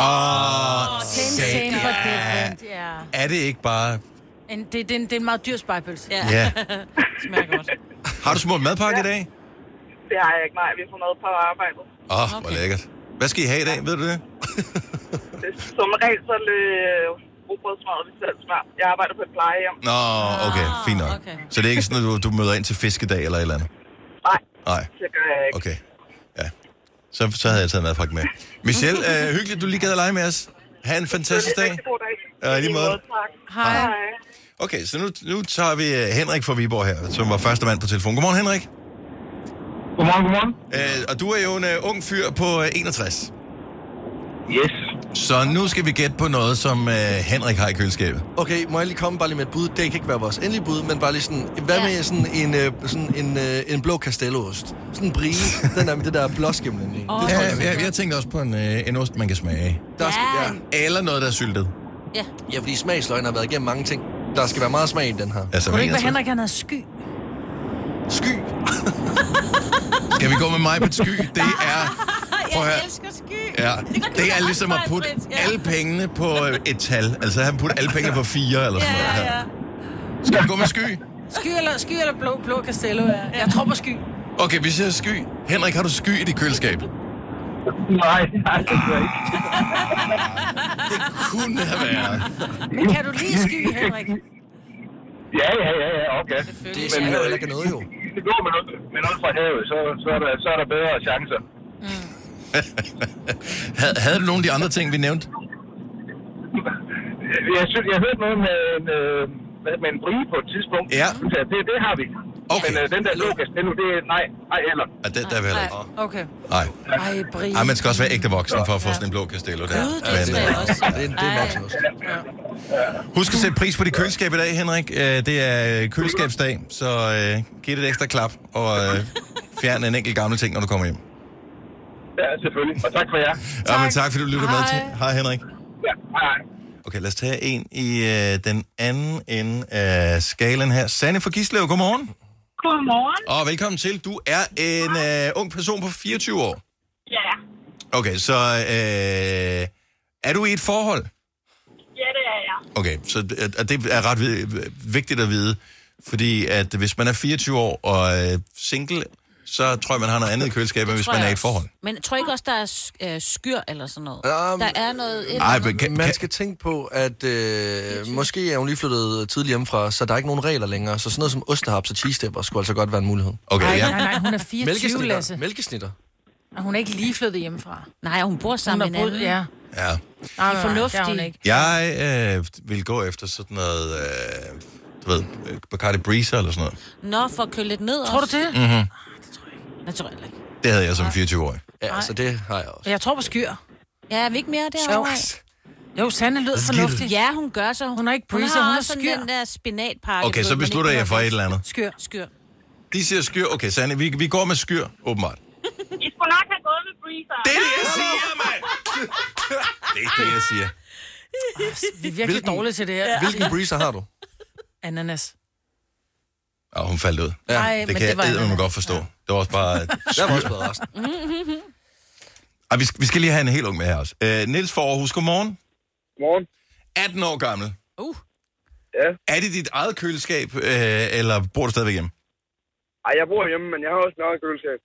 Speaker 1: Åh,
Speaker 2: Same,
Speaker 1: sat-
Speaker 2: same, but
Speaker 1: ja.
Speaker 2: different. Ja.
Speaker 1: Ah, Er det ikke bare...
Speaker 2: En, det, det, er en, det er en meget dyr spejepølse.
Speaker 4: Ja,
Speaker 1: Ja.
Speaker 4: smager godt.
Speaker 1: Har du smurt madpakke i dag?
Speaker 7: Det har jeg ikke. Nej, vi får mad på arbejdet.
Speaker 1: Åh, oh, okay. hvor lækkert. Hvad skal I have i dag, ved du det?
Speaker 7: Det er som regel så øh, rugbrødsmad, vi selv smør. Jeg arbejder på et plejehjem.
Speaker 1: Nå, okay, fint nok. Okay.
Speaker 4: Ah, okay.
Speaker 1: Så det er ikke sådan, at du, du møder ind til fiskedag eller et eller andet?
Speaker 7: Nej,
Speaker 1: Nej,
Speaker 7: det gør jeg ikke.
Speaker 1: okay. Ja. Så, så havde jeg taget madpakke med. Michelle, øh, hyggeligt, du lige gad at lege med os. Ha' en fantastisk dag.
Speaker 7: God dag.
Speaker 1: Ja, i lige måde.
Speaker 7: Tak.
Speaker 2: Hej.
Speaker 1: Okay, så nu, nu tager vi øh, Henrik fra Viborg her, som var første mand på telefon. Godmorgen, Henrik.
Speaker 8: Godmorgen, godmorgen.
Speaker 1: Øh, og du er jo en øh, ung fyr på øh, 61.
Speaker 8: Yes.
Speaker 1: Så nu skal vi gætte på noget, som øh, Henrik har i køleskabet.
Speaker 3: Okay, må jeg lige komme bare lige med et bud? Det kan ikke være vores endelige bud, men bare lige sådan... Hvad med sådan en, øh, sådan en, øh, en blå castelloost? Sådan en brie. den der med det der blåskimlen i.
Speaker 1: Ja, jeg, jeg tænkte også på en, øh, en ost, man kan smage af.
Speaker 3: Der skal, ja.
Speaker 1: Eller noget, der er syltet.
Speaker 4: Ja,
Speaker 3: ja, fordi smagsløgene har været igennem mange ting. Der skal være meget smag i den her.
Speaker 1: Altså,
Speaker 2: Kunne det ikke
Speaker 1: men
Speaker 2: være
Speaker 1: jeg tror-
Speaker 2: Henrik, han havde sky?
Speaker 3: Sky.
Speaker 1: Skal vi gå med mig på et sky? Det er... Prøv at
Speaker 4: jeg
Speaker 1: høre.
Speaker 4: elsker sky.
Speaker 1: Ja,
Speaker 4: kan du
Speaker 1: det
Speaker 4: da
Speaker 1: er
Speaker 4: også,
Speaker 1: ligesom at
Speaker 4: Maj-Brit.
Speaker 1: putte
Speaker 4: Ja.
Speaker 1: alle pengene på øh, et tal. Altså, han putter alle pengene på fire eller
Speaker 4: Ja,
Speaker 1: sådan noget.
Speaker 4: ja, ja.
Speaker 1: her. Skal vi gå med sky?
Speaker 2: Sky eller, sky eller blå, blå Castello, ja. Jeg tror på sky.
Speaker 1: Okay, hvis jeg sky. Henrik, har du sky i dit køleskab?
Speaker 8: Nej, nej, det gør jeg ikke.
Speaker 1: Kunne det have været.
Speaker 2: Men kan du lide sky, Henrik?
Speaker 8: Ja, ja, ja, ja, okay.
Speaker 3: Det smager jo heller ikke af noget, jo.
Speaker 8: Det går med noget, med noget fra havet, så, så, er der, så er der bedre chancer.
Speaker 1: Havde, havde du nogle af de andre ting, vi nævnte?
Speaker 8: Jeg, synes, jeg hørte noget med en, øh, hvad- med en brie på et tidspunkt.
Speaker 1: Ja.
Speaker 8: Så det, det har vi.
Speaker 1: Okay.
Speaker 8: Men øh, den der Lucas, den, det er nej, nej heller.
Speaker 1: Ja, det, der er vi heller ikke.
Speaker 2: Okay.
Speaker 1: Nej.
Speaker 2: Ej, Brie.
Speaker 1: Ej, man skal også være ægte voksen for at få sådan en blå castello der.
Speaker 4: Gud, det
Speaker 1: Men,
Speaker 4: smager
Speaker 1: øh,
Speaker 4: også.
Speaker 3: Det er, det er nok også.
Speaker 1: husk at sætte pris på dit køleskab i dag, Henrik. Øh, Det er øh, køleskabsdag, så øh, giv det et ekstra klap og øh, fjern en enkelt gammel ting, når du kommer hjem.
Speaker 8: Ja, selvfølgelig. Og tak for jer.
Speaker 1: Ja, men tak, fordi du lytter med til. Hej, Henrik.
Speaker 8: Ja, hej, hej.
Speaker 1: Okay, lad os tage en i øh, den anden ende af skalen her. Sanne fra Gislev, godmorgen.
Speaker 7: Godmorgen.
Speaker 1: Og velkommen til. Du er en øh, ung person på 24 år.
Speaker 7: Ja,
Speaker 1: Okay, så øh, er du i et forhold?
Speaker 7: ja det er jeg.
Speaker 1: Okay, så det, og det er ret vi- øh, vigtigt at vide, fordi at hvis man er 24 år og øh, single, så tror jeg, man har noget andet i køleskabet, end hvis
Speaker 4: Tror
Speaker 1: man
Speaker 4: jeg
Speaker 1: er i et
Speaker 4: også.
Speaker 1: forhold. Øhm,
Speaker 4: Men tror I ikke også, der er sk- øh, skyr eller sådan noget?
Speaker 3: Um,
Speaker 4: der er noget... et-
Speaker 1: Nej, men kan,
Speaker 3: Man
Speaker 1: kan,
Speaker 3: skal tænke på, at øh, måske er hun lige flyttet tidligt hjemmefra, så der er ikke nogen regler længere. Så sådan noget som ostehaps og cheese dipper skulle altså godt være en mulighed.
Speaker 1: okay,
Speaker 2: Nej,
Speaker 1: ja.
Speaker 2: nej, nej, hun er 24, Lasse.
Speaker 3: Mælkesnitter.
Speaker 2: Og hun er ikke lige flyttet hjemmefra.
Speaker 4: Nej, hun bor
Speaker 2: Hun
Speaker 4: sammen
Speaker 2: er
Speaker 4: med en
Speaker 2: brud,
Speaker 4: anden.
Speaker 2: ja.
Speaker 1: ja.
Speaker 2: Nej,
Speaker 4: er
Speaker 2: nej,
Speaker 4: fornuftige.
Speaker 2: det er hun ikke.
Speaker 1: Jeg øh, vil gå efter sådan noget, øh, du ved, øh, Bacardi Breezer eller sådan noget.
Speaker 4: Nå, for at køle lidt ned
Speaker 2: Tror du
Speaker 4: også.
Speaker 2: det?
Speaker 4: Jeg tror jeg heller ikke.
Speaker 1: Det havde jeg som 24-årig.
Speaker 3: Ja, så det har jeg også.
Speaker 2: Jeg tror på skyr.
Speaker 4: Ja, er vi ikke mere
Speaker 2: Jo,
Speaker 4: derovre?
Speaker 2: jo Sanne lød fornuftig.
Speaker 4: Ja, hun gør så.
Speaker 2: Hun er ikke breezer,
Speaker 4: har
Speaker 2: hun er
Speaker 4: også sådan
Speaker 2: skyr.
Speaker 4: den der spinatpakke.
Speaker 1: Okay,
Speaker 4: du ved,
Speaker 1: så
Speaker 4: man
Speaker 1: beslutter
Speaker 4: ikke
Speaker 1: jeg for et
Speaker 4: behøver
Speaker 1: eller andet.
Speaker 2: Skyr.
Speaker 4: at- Skyr.
Speaker 1: De siger skyr. Okay, Sanne, vi, vi går med skyr, åbenbart.
Speaker 7: I skulle nok have gået med Brie. spiser.
Speaker 1: Det er det, jeg siger, mand! Det er det, jeg siger.
Speaker 2: Vi er virkelig
Speaker 3: Hvilken-
Speaker 2: dårlige til det her.
Speaker 3: Hvilken breezer har du?
Speaker 2: Ananas.
Speaker 1: Og hun faldt ud.
Speaker 3: Ja,
Speaker 2: Ej,
Speaker 1: Det kan jeg eddermame godt forstå. Det var også bare...
Speaker 3: Jeg har også bedre resten.
Speaker 1: Ej, vi, skal, vi skal lige have en helt ung med her også. Øh, Niels for Aarhus, godmorgen.
Speaker 8: Morgen.
Speaker 1: 18 år gammel.
Speaker 2: Uh,
Speaker 8: Ja.
Speaker 1: Er det dit eget køleskab, øh, eller bor du stadigvæk hjemme?
Speaker 8: Ej, jeg bor hjemme, men jeg har også meget køleskab.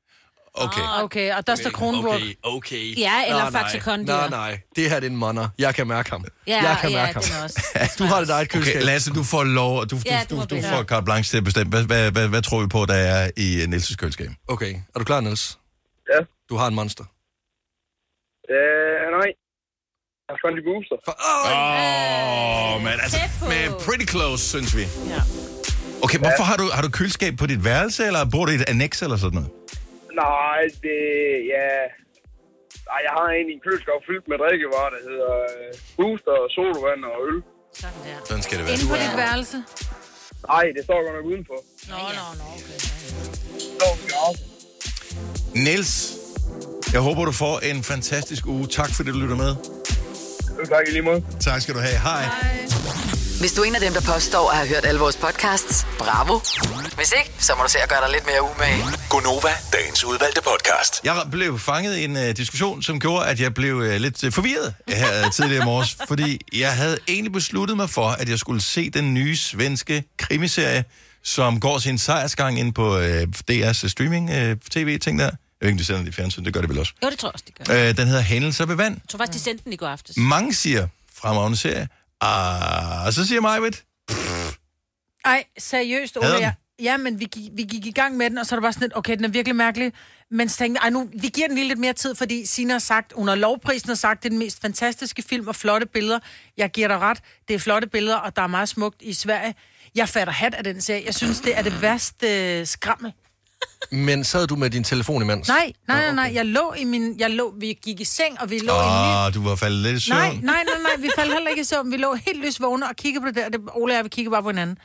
Speaker 1: Okay.
Speaker 4: Ah,
Speaker 2: okay, og der står Kronborg.
Speaker 3: Okay, okay.
Speaker 4: Ja, eller
Speaker 3: Nå, nej.
Speaker 4: Faxe Kondi.
Speaker 3: Nej, nej. Det her det er en monner. Jeg kan mærke ham.
Speaker 4: Ja,
Speaker 3: jeg kan
Speaker 4: ja,
Speaker 3: mærke
Speaker 4: den
Speaker 3: ham.
Speaker 4: også.
Speaker 3: Du har det eget køleskab.
Speaker 1: Okay, Lasse, du får lov, du,
Speaker 4: Ja, du
Speaker 1: du, du,
Speaker 4: må
Speaker 1: du
Speaker 4: bestemme.
Speaker 1: får carte blanche til at bestemme. Hvad, hvad, hvad, hvad tror vi på, der er i øh, Niels' køleskab?
Speaker 3: okay, er du klar, Niels?
Speaker 8: Ja.
Speaker 3: Du har en monster.
Speaker 8: Øh, nej. Jeg har Funny Booster.
Speaker 3: For, oh,
Speaker 1: Åh, oh, men altså,
Speaker 4: Tæt på.
Speaker 1: men pretty close, synes vi.
Speaker 4: Ja.
Speaker 1: Okay, hvorfor har du, har du køleskab på dit værelse, eller bor du i et annex eller sådan noget?
Speaker 8: Nej, det... Ja... Ej, jeg har egentlig en køleskab fyldt med drikkevarer, der hedder øh, booster, og sodavand og øl.
Speaker 4: Sådan der.
Speaker 1: Sådan skal det være.
Speaker 2: Inde på dit værelse.
Speaker 8: Nej, det står godt nok udenfor.
Speaker 4: Nå, nå, nå. Okay.
Speaker 8: Det står på garagen.
Speaker 1: Niels, jeg håber, du får en fantastisk uge. Tak, fordi du lytter med.
Speaker 8: Jo, Tak i lige måde.
Speaker 1: Tak skal du have. Hej.
Speaker 5: Hvis du er en af dem, der påstår at have hørt alle vores podcasts, bravo. Hvis ikke, så må du se at gøre dig lidt mere umage.
Speaker 6: Gonova, dagens udvalgte podcast.
Speaker 1: Jeg blev fanget i en uh, diskussion, som gjorde, at jeg blev uh, lidt øh, forvirret her øh, tidligere i morges, fordi jeg havde egentlig besluttet mig for, at jeg skulle se den nye svenske krimiserie, som går sin sejrsgang ind på uh, DR's streaming-tv-ting øh, der. Jeg ved ikke, om de sender den i fjernsyn, det gør det vel også.
Speaker 4: Jo, det tror jeg også, det gør.
Speaker 1: Uh, den hedder Hændelser ved vand.
Speaker 4: Jeg tror faktisk, de sendte den i går aftes.
Speaker 1: Mange siger fremragende serie, ah, og så siger Majved,
Speaker 2: Ej, seriøst, Ole,
Speaker 1: Havde den?
Speaker 2: jeg, ja, men vi gik, vi gik i gang med den, og så er det bare sådan lidt, okay, den er virkelig mærkelig. Men så tænkte jeg, ej, nu, vi giver den lige lidt mere tid, fordi Sina har sagt, under lovprisen har sagt, det er den mest fantastiske film og flotte billeder. Jeg giver dig ret, det er flotte billeder, og der er meget smukt i Sverige. Jeg fatter hat af den serie. Jeg synes, det er det værste øh, skrammel.
Speaker 3: men sad du med din telefon imens?
Speaker 2: Nej, nej, nej, nej. Jeg lå i min... Jeg lå, vi gik i seng, og vi lå i min...
Speaker 1: ah, du var faldet lidt i søvn.
Speaker 2: Nej, nej, nej, nej, vi faldt heller ikke i søvn. Vi lå helt løs vågne og kiggede på det der. og Det, Ole og jeg, vi kiggede bare på hinanden.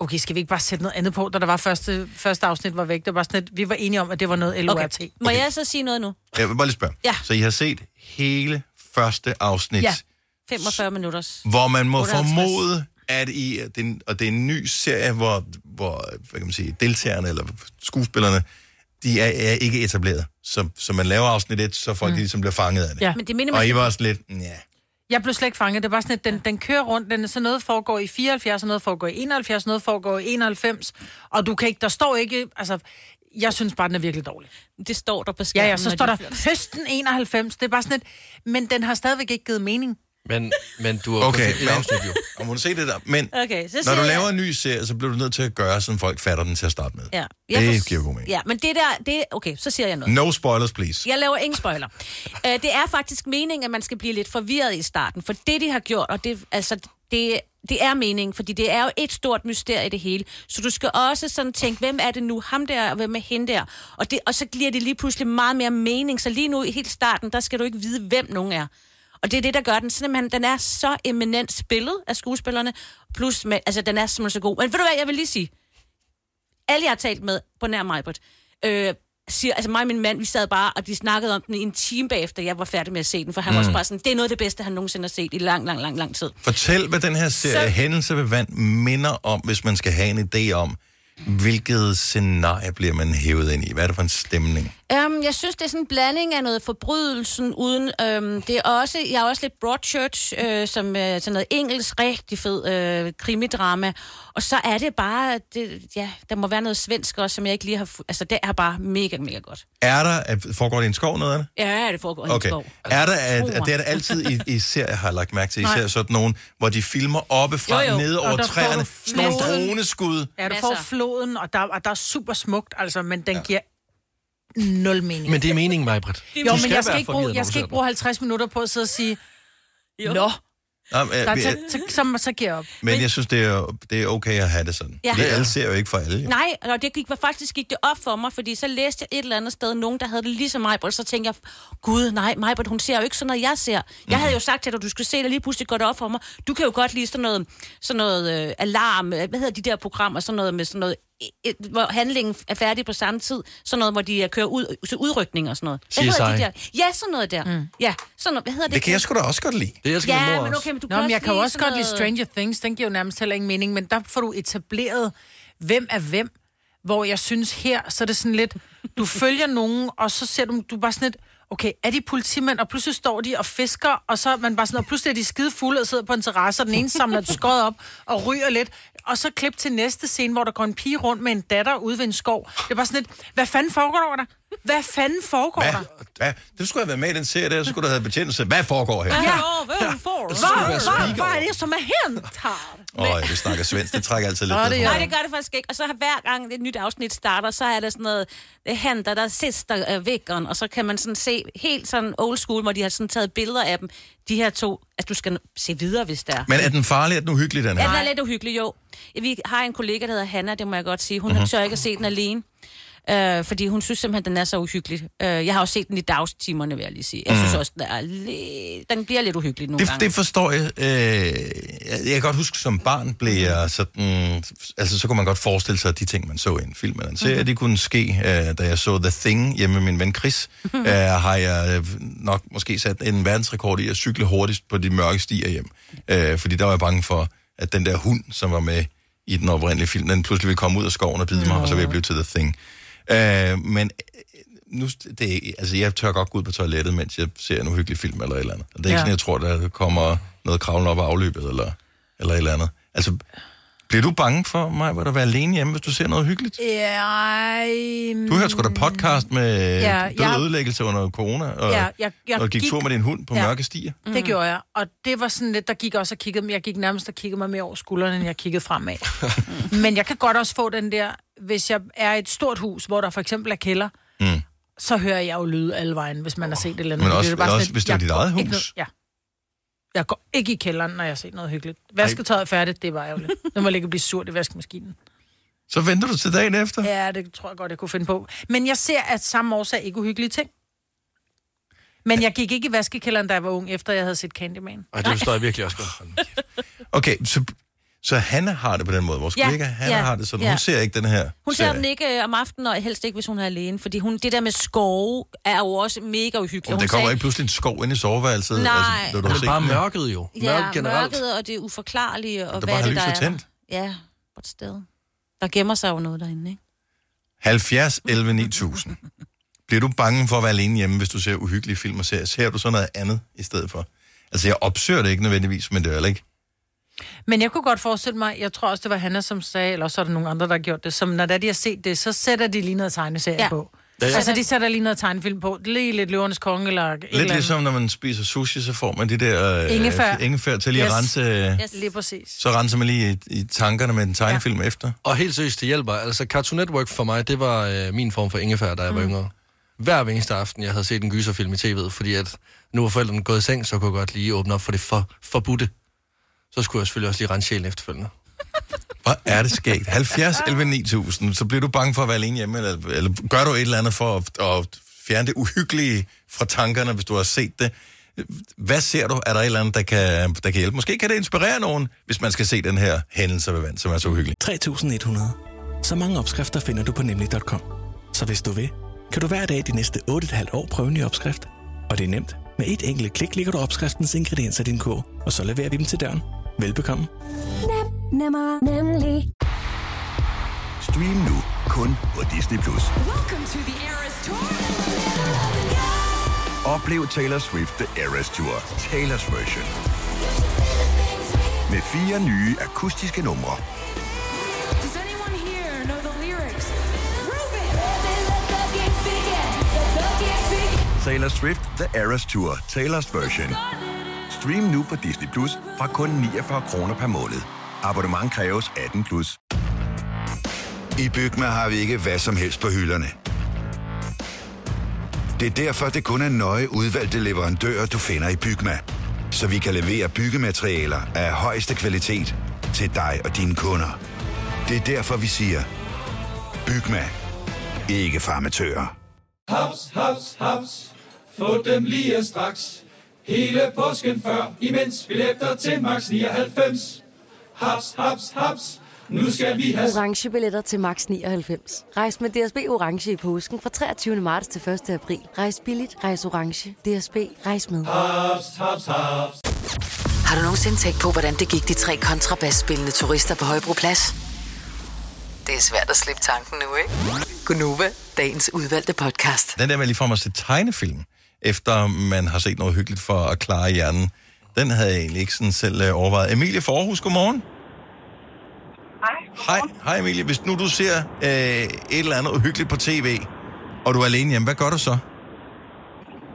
Speaker 2: Okay, skal vi ikke bare sætte noget andet på, da der var første, første afsnit var væk? Det var sådan, at vi var enige om, at det var noget LORT.
Speaker 4: Okay.
Speaker 2: Okay.
Speaker 4: Må jeg så sige noget nu?
Speaker 1: Jeg vil bare lige spørge.
Speaker 4: Ja.
Speaker 1: Så I har set hele første afsnit,
Speaker 2: Ja.
Speaker 4: 45 minutters.
Speaker 1: hvor man må
Speaker 4: 58.
Speaker 1: formode, at I, at det er en- og det er en ny serie, hvor, hvor hvad kan man sige, deltagerne eller skuespillerne, de er, er ikke etableret. Så, så man laver afsnit 1, så folk mm. ligesom bliver fanget af det.
Speaker 2: Ja.
Speaker 4: Men det minder mig...
Speaker 1: Og I var også lidt, ja.
Speaker 2: Jeg blev slet ikke fanget. Det var sådan, at den, den kører rundt. Den, er så noget foregår i 74, og noget foregår i 71, noget foregår i 91. Og du kan ikke... Der står ikke... Altså, jeg synes bare, den er virkelig dårlig.
Speaker 4: Det står der på skærmen.
Speaker 2: Ja, ja, så
Speaker 4: når
Speaker 2: står
Speaker 4: de
Speaker 2: der
Speaker 4: flytter.
Speaker 2: høsten 91. Det er bare sådan et... Men den har stadigvæk ikke givet mening.
Speaker 3: Men, men du har jo kun
Speaker 1: Okay,
Speaker 3: set et
Speaker 1: men-
Speaker 3: afsnit, jo.
Speaker 1: Og må du se det der. Men
Speaker 4: Okay, så
Speaker 1: når
Speaker 4: siger
Speaker 1: du
Speaker 4: jeg-
Speaker 1: laver en ny serie, så bliver du nødt til at gøre, sådan folk fatter den til at starte med.
Speaker 4: Ja.
Speaker 1: Det
Speaker 4: forst-
Speaker 1: giver god mening.
Speaker 4: Ja, men det der... Det, okay, så siger jeg noget.
Speaker 1: No spoilers, please.
Speaker 4: Jeg laver ingen spoiler. Øh, det er faktisk meningen, at man skal blive lidt forvirret i starten, for det, de har gjort, og det, altså, det, det er meningen, fordi det er jo et stort mysterie i det hele. Så du skal også sådan tænke, hvem er det nu, ham der, og hvem er hende der? Og, det, og så giver det lige pludselig meget mere mening, så lige nu i helt starten, der skal du ikke vide, hvem nogen er. Og det er det, der gør den. Simpelthen, den er så eminent spillet af skuespillerne, plus, med, altså, den er simpelthen så god. Men ved du hvad, jeg vil lige sige, alle jeg har talt med på nær mig, øh, siger, altså mig og min mand, vi sad bare, og de snakkede om den i en time bagefter, jeg var færdig med at se den, for han mm. var også bare sådan, det er noget af det bedste, han nogensinde har set i lang, lang, lang, lang tid.
Speaker 1: Fortæl, hvad den her serie så...
Speaker 4: Så-
Speaker 1: Hændelse ved vand minder om, hvis man skal have en idé om, hvilket scenarie bliver man hævet ind i? Hvad er det for en stemning?
Speaker 4: Um, jeg synes, det er sådan en blanding af noget forbrydelsen uden... Um, det er også, jeg er også lidt Broadchurch, øh, som øh, sådan noget engelsk, rigtig fed øh, krimidrama. Og så er det bare... Det, ja, der må være noget svensk også, som jeg ikke lige har... fu- Altså, det er bare mega, mega godt.
Speaker 1: Er der, foregår det i en skov noget af det?
Speaker 4: Ja, det foregår i
Speaker 1: Okay.
Speaker 4: Hemsborg.
Speaker 1: Er der, at,
Speaker 4: Tro mig.
Speaker 1: at det er der altid i, i serier, har jeg lagt mærke til, især sådan nogen, hvor de filmer oppe fra,
Speaker 4: Jo, jo.
Speaker 1: nede
Speaker 2: Og
Speaker 1: over
Speaker 2: der får
Speaker 1: træerne,
Speaker 2: du
Speaker 1: sådan nogle
Speaker 2: floden.
Speaker 1: droneskud.
Speaker 2: Ja, du
Speaker 4: Masser.
Speaker 2: får floden, og der, og der er super smukt, altså, men den ja. giver nul mening.
Speaker 3: Men det er meningen, Majbrit.
Speaker 2: jo, men jeg skal, ikke bruge, jeg skal ikke bruge 50 minutter på at sidde og sige,
Speaker 4: Jo.
Speaker 2: nå,
Speaker 1: Nå, men,
Speaker 2: der,
Speaker 1: øh,
Speaker 2: så, så, så, så giver jeg op.
Speaker 1: men jeg synes, det er, det er okay at have det sådan.
Speaker 4: Ja.
Speaker 1: Ja. Det alle ser jo ikke for alle. jo.
Speaker 4: Nej, og det gik, faktisk gik det op for mig, fordi så læste jeg et eller andet sted, nogen der havde det ligesom mig, og så tænkte jeg, gud nej, Majbert, hun ser jo ikke sådan noget, jeg ser. Jeg havde jo sagt til dig, du skulle se det, og lige pludselig går det op for mig. Du kan jo godt lide sådan noget, sådan noget øh, alarm, øh, hvad hedder de der programmer, sådan noget med sådan noget et, hvor handlingen er færdig på samme tid. Sådan noget, hvor de øh, kører ud til udrykning og sådan noget. Hvad hedder
Speaker 3: CSI.
Speaker 4: de der? Ja, sådan noget der. Mm. Ja, sådan noget. Hvad hedder det?
Speaker 1: Det kan jeg sgu da også godt lide.
Speaker 3: Det elsker min
Speaker 4: Ja,
Speaker 3: mor
Speaker 4: men
Speaker 3: også.
Speaker 4: okay, men du
Speaker 2: Nå, men jeg kan jo også
Speaker 4: sådan
Speaker 2: godt lide
Speaker 4: noget-
Speaker 2: Stranger Things. Den giver jo nærmest heller ingen mening, men der får du etableret, hvem er hvem. Hvor jeg synes her, så er det sådan lidt, du følger nogen, og så ser du, du er bare sådan lidt, okay, er de politimænd, og pludselig står de og fisker, og så er man bare sådan, og pludselig er de skide fulde og sidder på en terrasse, og den ene samler et skod op og ryger lidt, og så klip til næste scene, hvor der går en pige rundt med en datter ude ved en skov. Det er bare sådan lidt, hvad fanden foregår der? Hvad fanden foregår
Speaker 1: Hvad?
Speaker 2: der?
Speaker 1: Hvad? Du skulle have været med i den serie der, så skulle du have betjent Hvad foregår her?
Speaker 4: Ja. Åh, hvad er hun for?
Speaker 2: Hvad, hvad, hvad er det, som er hent her?
Speaker 1: Åh, oh, det snakker svensk. Det trækker altid lidt
Speaker 2: Nå, det
Speaker 1: ned på
Speaker 2: gør
Speaker 1: mig.
Speaker 4: Nej, det gør det faktisk ikke. Og så har hver gang et nyt afsnit starter, så er der sådan noget, det henter der sidste øh, vikkeren, og så kan man sådan se helt sådan old school, hvor de har sådan taget billeder af dem. De her to, altså du skal se videre, hvis det er.
Speaker 1: Men er den farlig? Er den uhyggelig, den her?
Speaker 4: Ja, den er lidt uhyggelig, jo. Vi har en kollega, der hedder Hanna, det må jeg godt sige. Hun
Speaker 1: Mhm.
Speaker 4: mm-hmm. tør ikke at se den alene. Øh, fordi hun synes simpelthen, den er så uhyggelig. Øh, jeg har også set den i dagstimerne, vil jeg lige sige. Jeg synes også, den, er lidt, den bliver lidt uhyggelig nogle
Speaker 1: Mhm. Det,
Speaker 4: gange.
Speaker 1: det forstår jeg. Øh, jeg. Jeg kan godt huske, som barn blev jeg sådan... Altså, så kunne man godt forestille sig, at de ting, man så i en film eller en serie, mm-hmm. de kunne ske. Øh, da jeg så The Thing hjemme med min ven Chris, øh, har jeg øh, nok måske sat en verdensrekord i at cykle hurtigst på de mørke stier hjem. Øh, fordi der var jeg bange for, at den der hund, som var med i den oprindelige film, den pludselig ville komme ud af skoven og bide mig, og så ville jeg blive til The Thing. Øh, men nu, det, altså jeg tør godt gå ud på toilettet, mens jeg ser en uhyggelig film eller et eller andet. Og det er ikke
Speaker 2: Ja.
Speaker 1: ja. sådan, jeg tror, der kommer noget kravlen op af afløbet eller, eller et eller andet. Altså, bliver du bange for mig, hvor du være alene hjemme, hvis du ser noget hyggeligt?
Speaker 2: Ja,
Speaker 1: Du hørte sgu da podcast med
Speaker 2: Ja,
Speaker 1: ja, død
Speaker 2: jeg-
Speaker 1: og ødelæggelse under corona, og,
Speaker 2: Ja, jeg- jeg
Speaker 1: og gik,
Speaker 2: gik-
Speaker 1: tur med din hund på
Speaker 2: Ja.
Speaker 1: ja. mørke stier.
Speaker 2: mm. det gjorde jeg. Og det var sådan lidt, der gik også og kiggede, men jeg gik nærmest og kiggede mig mere over skuldrene, end jeg kiggede fremad. men jeg kan godt også få den der, hvis jeg er i et stort hus, hvor der for eksempel er kælder, mm. så hører jeg jo lyde alle vejen, hvis man har set et eller andet.
Speaker 1: Men også-
Speaker 2: er
Speaker 1: også
Speaker 2: lidt,
Speaker 1: hvis det er
Speaker 2: jeg
Speaker 1: dit
Speaker 2: går
Speaker 1: eget
Speaker 2: ikke
Speaker 1: hus.
Speaker 2: ned- ja. Jeg går ikke i kælderen, når jeg har set noget hyggeligt. Vasketøjet er færdigt, det var ærgerligt. Nu må jeg ligge og blive surt i vaskemaskinen.
Speaker 1: Så venter du til dagen efter. Ja.
Speaker 2: Ja, det tror jeg godt, jeg kunne finde på. Men jeg ser, at samme årsag ikke uhyggelige ting. Men jeg gik ikke i vaskekælderen, da jeg var ung, efter jeg havde set Candyman.
Speaker 3: Ej, det forstår jeg virkelig også godt.
Speaker 1: Okay, så, så Hanna har det på den måde. Vores
Speaker 4: Ja,
Speaker 1: kollega Hanna
Speaker 4: ja,
Speaker 1: har det sådan.
Speaker 4: ja.
Speaker 1: Hun ser ikke den her
Speaker 4: Hun ser
Speaker 1: serie.
Speaker 4: den ikke øh, om aftenen, og helst ikke, hvis hun er alene. Fordi hun, det der med skove er jo også mega uhyggeligt.
Speaker 1: Om
Speaker 4: Hun
Speaker 1: der kommer
Speaker 4: sagde-
Speaker 1: ikke pludselig en skov ind i soveværelset.
Speaker 4: Nej.
Speaker 1: når du
Speaker 3: Det
Speaker 1: har
Speaker 3: er
Speaker 1: set
Speaker 3: bare
Speaker 1: den her.
Speaker 3: mørket jo.
Speaker 4: Ja,
Speaker 3: Mørket generelt.
Speaker 4: mørket og det uforklarlige, og
Speaker 1: Der
Speaker 4: hvad
Speaker 1: bare
Speaker 4: er det, der
Speaker 1: har
Speaker 4: er.
Speaker 1: lyset tændt.
Speaker 4: Ja, på et sted. Der gemmer sig jo noget derinde, ikke?
Speaker 1: 70 11 9000. Bliver du bange for at være alene hjemme, hvis du ser uhyggelige film og serier? Ser du så noget andet i stedet for? Altså, jeg opsøger det ikke nødvendigvis, men det er heller ikke.
Speaker 2: Men jeg kunne godt forestille mig, jeg tror også, det var Hanna, som sagde, eller så er der nogle andre, der har gjort det, som når det er, de har set det, så sætter de lige noget tegneserie
Speaker 4: Ja.
Speaker 2: ja. på.
Speaker 3: Ja,
Speaker 2: Ja,
Speaker 3: ja.
Speaker 2: ja. Altså, de sætter lige noget tegnefilm på. Lige lidt Løvernes Konge, eller et eller
Speaker 1: Lidt
Speaker 2: andet.
Speaker 1: ligesom, når man spiser sushi, så får man de der øh,
Speaker 2: Ingefær.
Speaker 1: ingefær til lige yes.
Speaker 2: Yes.
Speaker 1: at rense... Yes.
Speaker 4: Yes.
Speaker 2: Lige præcis.
Speaker 1: Så renser man lige i, i tankerne med en tegnefilm ja. efter.
Speaker 3: Og helt seriøst, det hjælper. Altså, Cartoon Network for mig, det var øh, min form for ingefær, da jeg var yngre. Hver eneste aften, jeg havde set en gyserfilm i tv'et, fordi at nu var forældrene gået i seng, så kunne jeg godt lige åbne op for det for, forbudte. Så skulle jeg selvfølgelig også lige rense sjælen efterfølgende.
Speaker 1: Hvor er det skægt. 70 11 9000. Så bliver du bange for at være alene hjemme, eller, eller gør du et eller andet for at, at fjerne det uhyggelige fra tankerne, hvis du har set det. Hvad ser du? Er der et eller andet, der kan, der kan hjælpe? Måske kan det inspirere nogen, hvis man skal se den her hændelse ved vand, som er så uhyggelig.
Speaker 9: 3100. Så mange opskrifter finder du på nemlig.com. Så hvis du vil, kan du hver dag de næste 8,5 år prøve en ny opskrift. Og det er nemt. Med et enkelt klik ligger du opskriftens ingredienser i din kog, og så leverer vi dem til døren. Velbekomme.
Speaker 10: Nemmer, nemlig.
Speaker 11: Stream nu kun på Disney+. Plus. Oplev Taylor Swift The Eras Tour, Taylor's version. Med fire nye akustiske numre. Taylor Swift The Eras Tour, Taylor's version. Stream nu på Disney Plus fra kun 49 kroner per måned. Abonnement kræves 18 plus. I Bygma har vi ikke hvad som helst på hylderne. Det er derfor, det kun er nøje udvalgte leverandører, du finder i Bygma. Så vi kan levere byggematerialer af højeste kvalitet til dig og dine kunder. Det er derfor, vi siger, Bygma. Ikke farmatører.
Speaker 9: Haps, haps, haps. Få dem lige straks. Hele påsken før, imens vi læfter til max 99. Haps, haps, haps.
Speaker 12: Nu skal vi have...
Speaker 13: orange billetter til max 99. Rejs med DSB orange i påsken fra 23. marts til 1. april. Rejs billigt, rejs orange. DSB rejs med.
Speaker 12: Hops, hops, hops.
Speaker 5: Har du nogensinde tænkt på, hvordan det gik de tre kontrabasspillende turister på Højbroplads? Det er svært at slippe tanken nu, ikke? Gunova, dagens udvalgte podcast.
Speaker 1: Den der med ligefrem at se tegnefilm, efter man har set noget hyggeligt for at klare hjernen, den havde jeg egentlig ikke sådan selv øh, overvejet. Emilie Forhus, godmorgen. Hej. Hej, hej Emilie. Hvis nu du ser øh, et eller andet hyggeligt på tv, og du er alene hjemme, hvad gør du så?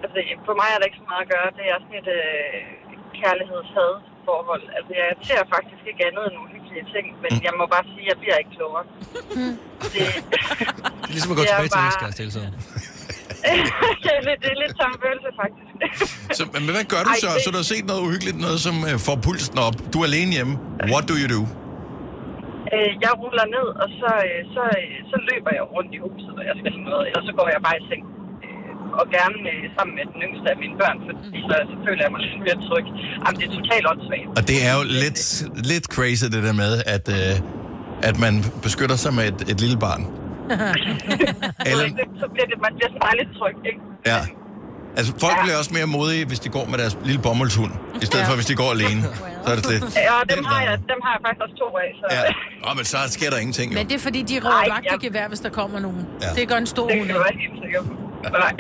Speaker 14: Altså, for mig er der ikke så meget at gøre. Det er sådan et øh, kærligheds-had-forhold. Altså, jeg ser faktisk ikke andet end uhyggelige ting, men
Speaker 1: Mm.
Speaker 14: jeg må bare sige, at jeg bliver ikke klogere. det,
Speaker 3: Det er ligesom at gå
Speaker 14: Det er
Speaker 3: tilbage til
Speaker 14: bare-
Speaker 3: næste hele tiden.
Speaker 14: det, er lidt, det er lidt samme følelse, faktisk.
Speaker 1: Så, men hvad gør du
Speaker 14: Ej,
Speaker 1: så?
Speaker 14: det-
Speaker 1: Så du har set noget uhyggeligt, noget som øh, får pulsen op. Du er alene hjemme. What do you do?
Speaker 14: Øh, jeg ruller ned, og så, øh, så, øh, så løber jeg rundt i huset, og jeg skal noget, og så går jeg bare i seng. Øh, og gerne øh, sammen med den yngste af mine børn, fordi så, så føler jeg mig lidt mere tryg. Jamen, det er totalt åndssvagt.
Speaker 1: Mm. Og det er jo lidt, lidt crazy, det der med, at, øh, at man beskytter sig med et, et lille barn. Eller,
Speaker 14: så bliver det, man bliver sådan bare lidt tryg, ikke?
Speaker 1: ja. Altså, folk bliver også mere modige, hvis de går med deres lille bommelshund, i stedet for, hvis de går alene. Så er det lidt...
Speaker 14: Ja, dem har, jeg, dem har jeg faktisk også to af, så...
Speaker 1: Ja. Nå, men så sker der ingenting, jo.
Speaker 2: Men det er fordi, de råber vagt i gevær, hvis der kommer nogen.
Speaker 1: Ja.
Speaker 2: Det gør en stor hund.
Speaker 14: Jeg er helt sikker på. Nej.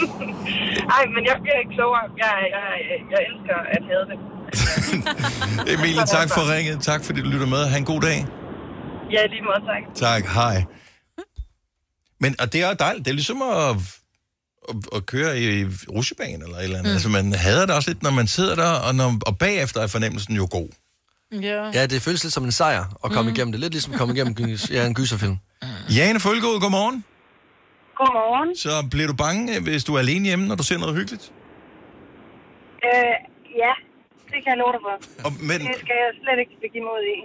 Speaker 14: Ej, men jeg bliver ikke klogere. Jeg, jeg, jeg elsker at have det.
Speaker 1: Emilie, tak for ringet. Tak fordi du lytter med. Ha' en god dag.
Speaker 14: Ja, i lige måde, tak.
Speaker 1: Tak. Hej. Men og det er jo dejligt. Det er ligesom at, at, at køre i, i rusjebanen eller et eller andet. Mm. Altså, man hader det også lidt, når man sidder der, og, når, og bagefter er fornemmelsen jo god.
Speaker 2: Ja.
Speaker 3: Ja, det føles lidt som en sejr at komme mm. igennem det. Lidt ligesom at komme igennem gys- ja, en gyserfilm.
Speaker 1: Jane Følgaard, godmorgen.
Speaker 15: Godmorgen.
Speaker 1: Så bliver du bange, øh, hvis du er alene hjemme, når du ser noget hyggeligt?
Speaker 15: Øh, ja, det kan jeg love dig for.
Speaker 1: Og, men,
Speaker 15: Det skal jeg slet ikke begive mig ud i.